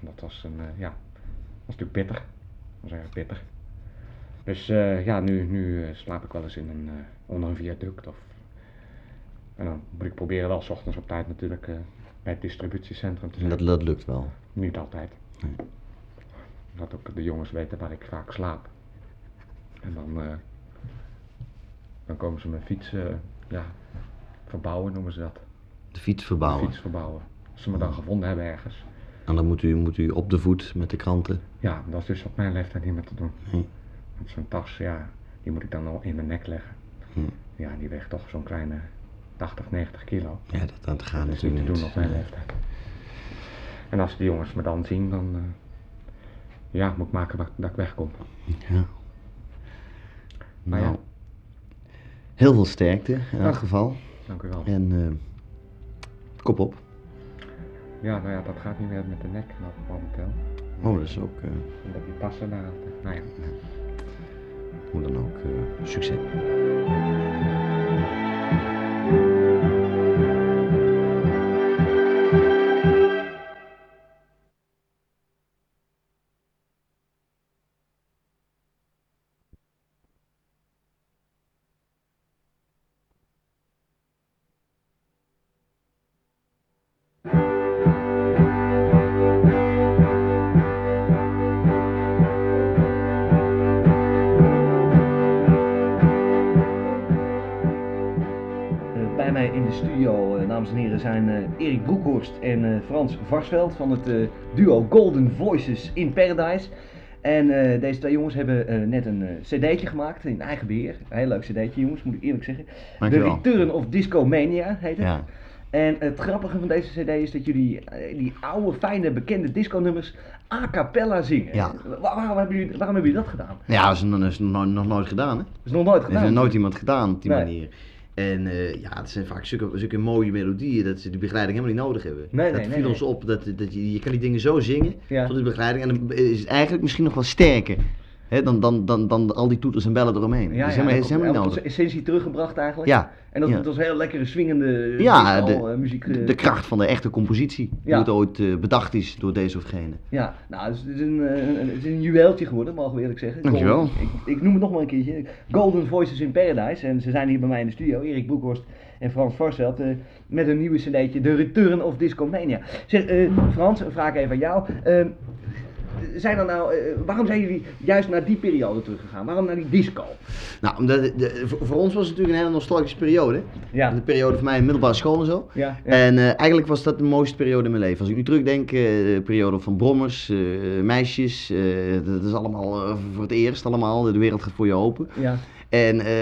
S2: En Dat was een, eh, ja, was natuurlijk pittig. Dat was erg pittig. Dus eh, ja, nu, nu eh, slaap ik wel eens in een, eh, onder een viaduct of... En dan moet ik proberen wel s ochtends op tijd natuurlijk eh, bij het distributiecentrum te
S1: En
S2: zijn.
S1: Dat, dat lukt wel.
S2: Niet altijd.
S1: Nee.
S2: Dat ook de jongens weten waar ik vaak slaap. En dan, eh, dan komen ze mijn fiets, eh, ja, verbouwen noemen ze dat.
S1: De fiets
S2: Mijn
S1: verbouwen.
S2: Fiets verbouwen. Als ze me dan gevonden hebben ergens.
S1: En dan moet u, moet u op de voet met de kranten.
S2: Ja, dat is dus op mijn leeftijd niet meer te doen.
S1: Nee.
S2: Want zo'n tas, ja, die moet ik dan al in mijn nek leggen.
S1: Hm.
S2: Ja, die weegt toch zo'n kleine 80, 90 kilo.
S1: Ja, dat, dat gaat
S2: dat is niet
S1: natuurlijk
S2: te
S1: niet.
S2: doen op mijn leeftijd. En als die jongens me dan zien, dan eh, ja, moet ik maken dat, dat ik wegkom.
S1: Ja.
S2: Maar
S1: Nou,
S2: ja,
S1: heel veel sterkte in elk
S2: Dank.
S1: geval.
S2: dank u wel. Ja.
S1: En eh, kop op.
S2: nou ja, dat gaat niet meer met de nek nou, momenteel.
S1: Oh, dat is ook, eh,
S2: Omdat die tassen daar altijd. Nou ja.
S1: hoe dan ook, eh, succes.
S3: Eh, bij mij in de studio, eh, dames en heren, zijn eh, Erik Broekhorst en eh, Frans Varsveld van het eh, duo Golden Voices in Paradise. En eh, deze twee jongens hebben eh, net een eh, cd'tje gemaakt in eigen beheer. Een heel leuk cd'tje jongens, moet ik eerlijk zeggen.
S1: Dankjewel.
S3: The Return of Disco Mania heet het.
S1: Ja,
S3: En het grappige van deze cd is dat jullie eh, die oude, fijne, bekende disco-nummers a cappella zingen.
S1: Ja.
S3: Wa- waarom, hebben jullie, waarom hebben jullie dat gedaan?
S1: ja dat is, nog- is nog, nog nooit gedaan, hè?
S3: Dat is nog nooit
S1: Er
S3: gedaan.
S1: is nog nooit iemand gedaan op die
S3: Nee.
S1: manier. En eh, ja, het zijn vaak zulke, zulke mooie melodieën dat ze die begeleiding helemaal niet nodig hebben.
S3: Nee,
S1: dat
S3: nee, nee,
S1: viel
S3: nee.
S1: ons op, dat, dat je, je kan die dingen zo zingen
S3: Ja.
S1: tot die begeleiding. En dan is het eigenlijk misschien nog wel sterker hè, dan, dan, dan, dan al die toeters en bellen eromheen. dat is helemaal,
S3: dat
S1: is helemaal niet
S3: komt-
S1: nodig.
S3: de Essentie teruggebracht eigenlijk.
S1: Ja,
S3: En dat,
S1: Ja.
S3: dat was een heel lekkere swingende
S1: Ja,
S3: disco,
S1: de-
S3: eh, muziek. eh,
S1: de kracht van de echte compositie,
S3: Ja.
S1: hoe het ooit eh, bedacht is door deze of gene.
S3: Ja, nou, het is, het is een, eh, een- het is een juweeltje geworden, mogen we eerlijk zeggen.
S1: Dankjewel.
S3: Golden- Ik, ik noem het nog maar een keertje. Golden Voices in Paradise. En ze zijn hier bij mij in de studio, Erik Boekhorst en Frans Varsveld, eh, met een nieuwe cd'tje, The Return of Discomania. Zeg, eh, Frans, een vraag even aan jou. Eh, zijn er nou, eh, waarom zijn jullie juist naar die periode teruggegaan? Waarom naar die disco?
S1: Nou, omdat het- de- voor, voor ons was het natuurlijk een hele nostalgische periode.
S3: Ja.
S1: De periode van mij in middelbare school en zo.
S3: Ja, ja.
S1: En eh, eigenlijk was dat de mooiste periode in mijn leven. Als ik nu terugdenk, eh de periode van brommers, eh, meisjes, eh, dat is allemaal eh, voor het eerst allemaal. De wereld gaat voor je open.
S3: Ja.
S1: En eh,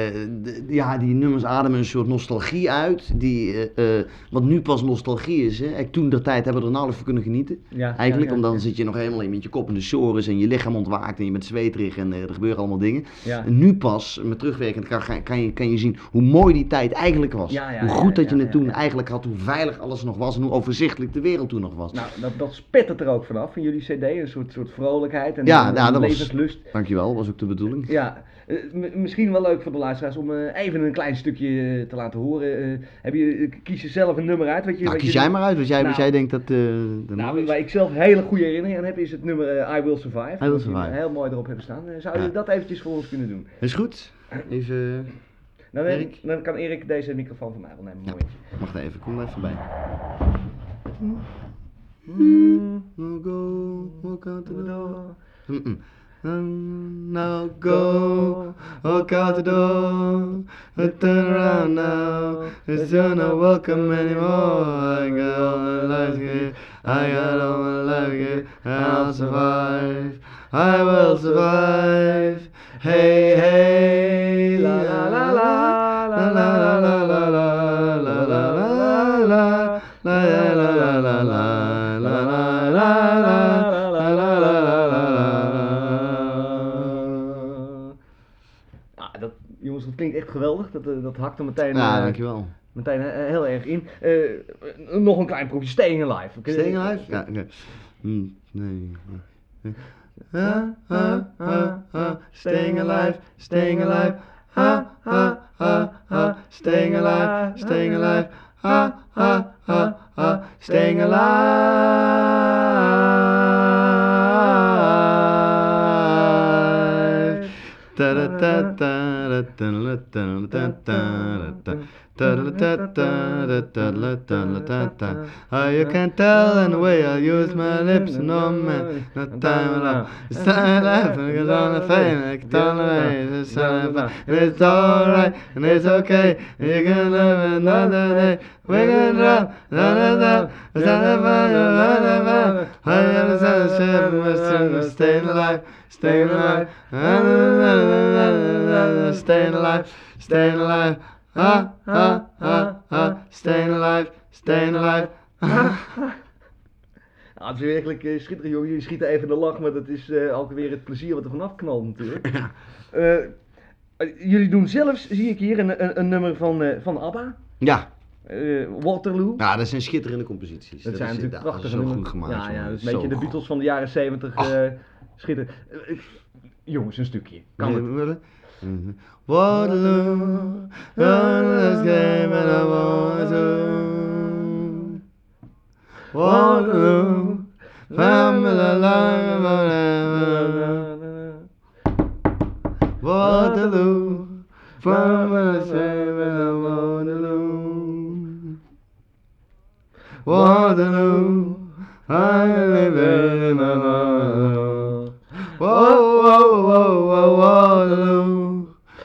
S1: d- ja, die nummers ademen een soort nostalgie uit. Die, eh, eh, wat nu pas nostalgie is. Hè. Toen de tijd hebben we er nauwelijks voor kunnen genieten.
S3: Ja,
S1: eigenlijk,
S3: ja, ja,
S1: want dan
S3: ja.
S1: zit je nog helemaal in met je kop opende sores en je lichaam ontwaakt en je bent zweterig en eh, er gebeuren allemaal dingen.
S3: Ja.
S1: En nu pas, met terugwerkend, kan, ga- kan, je, kan je zien hoe mooi die tijd eigenlijk was.
S3: Ja, ja,
S1: hoe
S3: ja,
S1: goed dat
S3: ja,
S1: je het
S3: ja,
S1: toen
S3: ja.
S1: eigenlijk had, hoe veilig alles nog was en hoe overzichtelijk de wereld toen nog was.
S3: Nou, dat, dat spettert er ook vanaf van jullie cd, een soort, soort vrolijkheid en
S1: Ja,
S3: en-
S1: ja,
S3: en
S1: dat was-
S3: levenslust.
S1: Dankjewel, was ook de bedoeling.
S3: Ja, eh, m- misschien wel leuk voor de luisteraars om eh, even een klein stukje eh, te laten horen. Eh, heb je, eh, kies je zelf een nummer uit? Wat je,
S1: Nou,
S3: wat
S1: kies
S3: je-
S1: jij maar uit wat jij, wat
S3: Nou.
S1: jij denkt dat... eh, dat
S3: Nou,
S1: mooi is.
S3: waar ik zelf hele goede herinneringen aan heb, is het nummer eh, I Will Survive.
S1: Will
S3: Wat jullie
S1: Survive.
S3: Heel mooi erop hebben staan. Eh, Zou je
S1: Ja.
S3: dat eventjes voor ons kunnen doen?
S1: Is goed. Even...
S3: Dan, eh,
S1: Erik?
S3: dan kan Erik deze microfoon van mij wel nemen.
S1: Ja.
S3: momentje.
S1: Wacht even, kom er even bij. Now go, walk out the door. Mm-mm. Now go, walk out the door. Turn around now, it's you're not welcome anymore. I got all my life here, I got all my life here, and I'll survive. I will survive. Hey, hey, la la la la, la la la la la la, la la la la, la la la la la la, la la la la, la la la la la.
S3: Ah, Eh, dat, jongens, dat klinkt echt geweldig. Dat, eh, dat hakt er meteen,
S1: Ja,
S3: eh,
S1: dankjewel.
S3: meteen eh, heel erg in. Eh, eh, nog een klein proefje. Staying Alive. Oké?
S1: Staying alive? Ja, oké. Hm, nee. Ha, ha, ha, ha. Staying alive, staying alive. Ha, ha, ha, ha. Staying alive, staying alive. Ha, ha, ha, ha. Staying alive. Ta-da-ta-ta-da-ta-da-ta-da-ta-da-ta. Ta-da-ta-ta-da-ta-da-ta-da-ta-da. Oh, you can tell in the way I use my lips, no man, no time at all. It's time left, and it's on the fame, I can turn away, it's time left. And it's alright, and it's okay, and you can live another day. We can drop, da da da, it's not a fun, da da da. I understand the ship, we're still staying alive, staying alive, da da da da da da, staying alive, staying alive. Ah, ah, ah, ah, staying alive, staying alive.
S3: Ah, het is werkelijk eh, schitterend, jongen. Jullie schieten even de lach, maar dat is eh ook weer het plezier wat er vanaf knalt natuurlijk. Eh, eh, jullie doen zelfs, zie ik hier, een, een, een nummer van, eh, van ABBA.
S1: Ja,
S3: eh, Waterloo.
S1: ja, dat zijn schitterende composities.
S3: dat, zijn
S1: is
S3: natuurlijk
S1: inderdaad- dat
S3: prachtige
S1: is zo
S3: nummers.
S1: goed gemaakt.
S3: Ja, ja
S1: jongen.
S3: dat is een
S1: Zo
S3: beetje de
S1: goed.
S3: Beatles van de jaren zeventig.
S1: Ach.
S3: eh schitterend. Eh, eh, jongens, een stukje. Kan
S1: Nee,
S3: het.
S1: we willen- Mhm. Waterloo, Waterloo's game and I want to. Waterloo, family alive forever. Waterloo, family shame and I want to. Waterloo, I live in my mind. Whoa, whoa, whoa, whoa, Waterloo.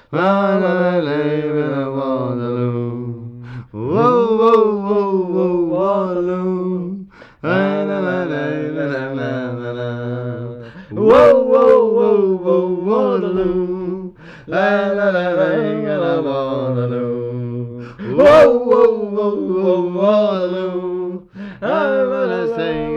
S1: While I live in a Waterloo. Whoa, whoa, whoa, whoa, Waterloo. While I live in a Waterloo. Whoa, whoa, whoa, whoa, Waterloo. While I live in a Waterloo. Whoa, whoa, whoa, whoa, Waterloo. I'm gonna sing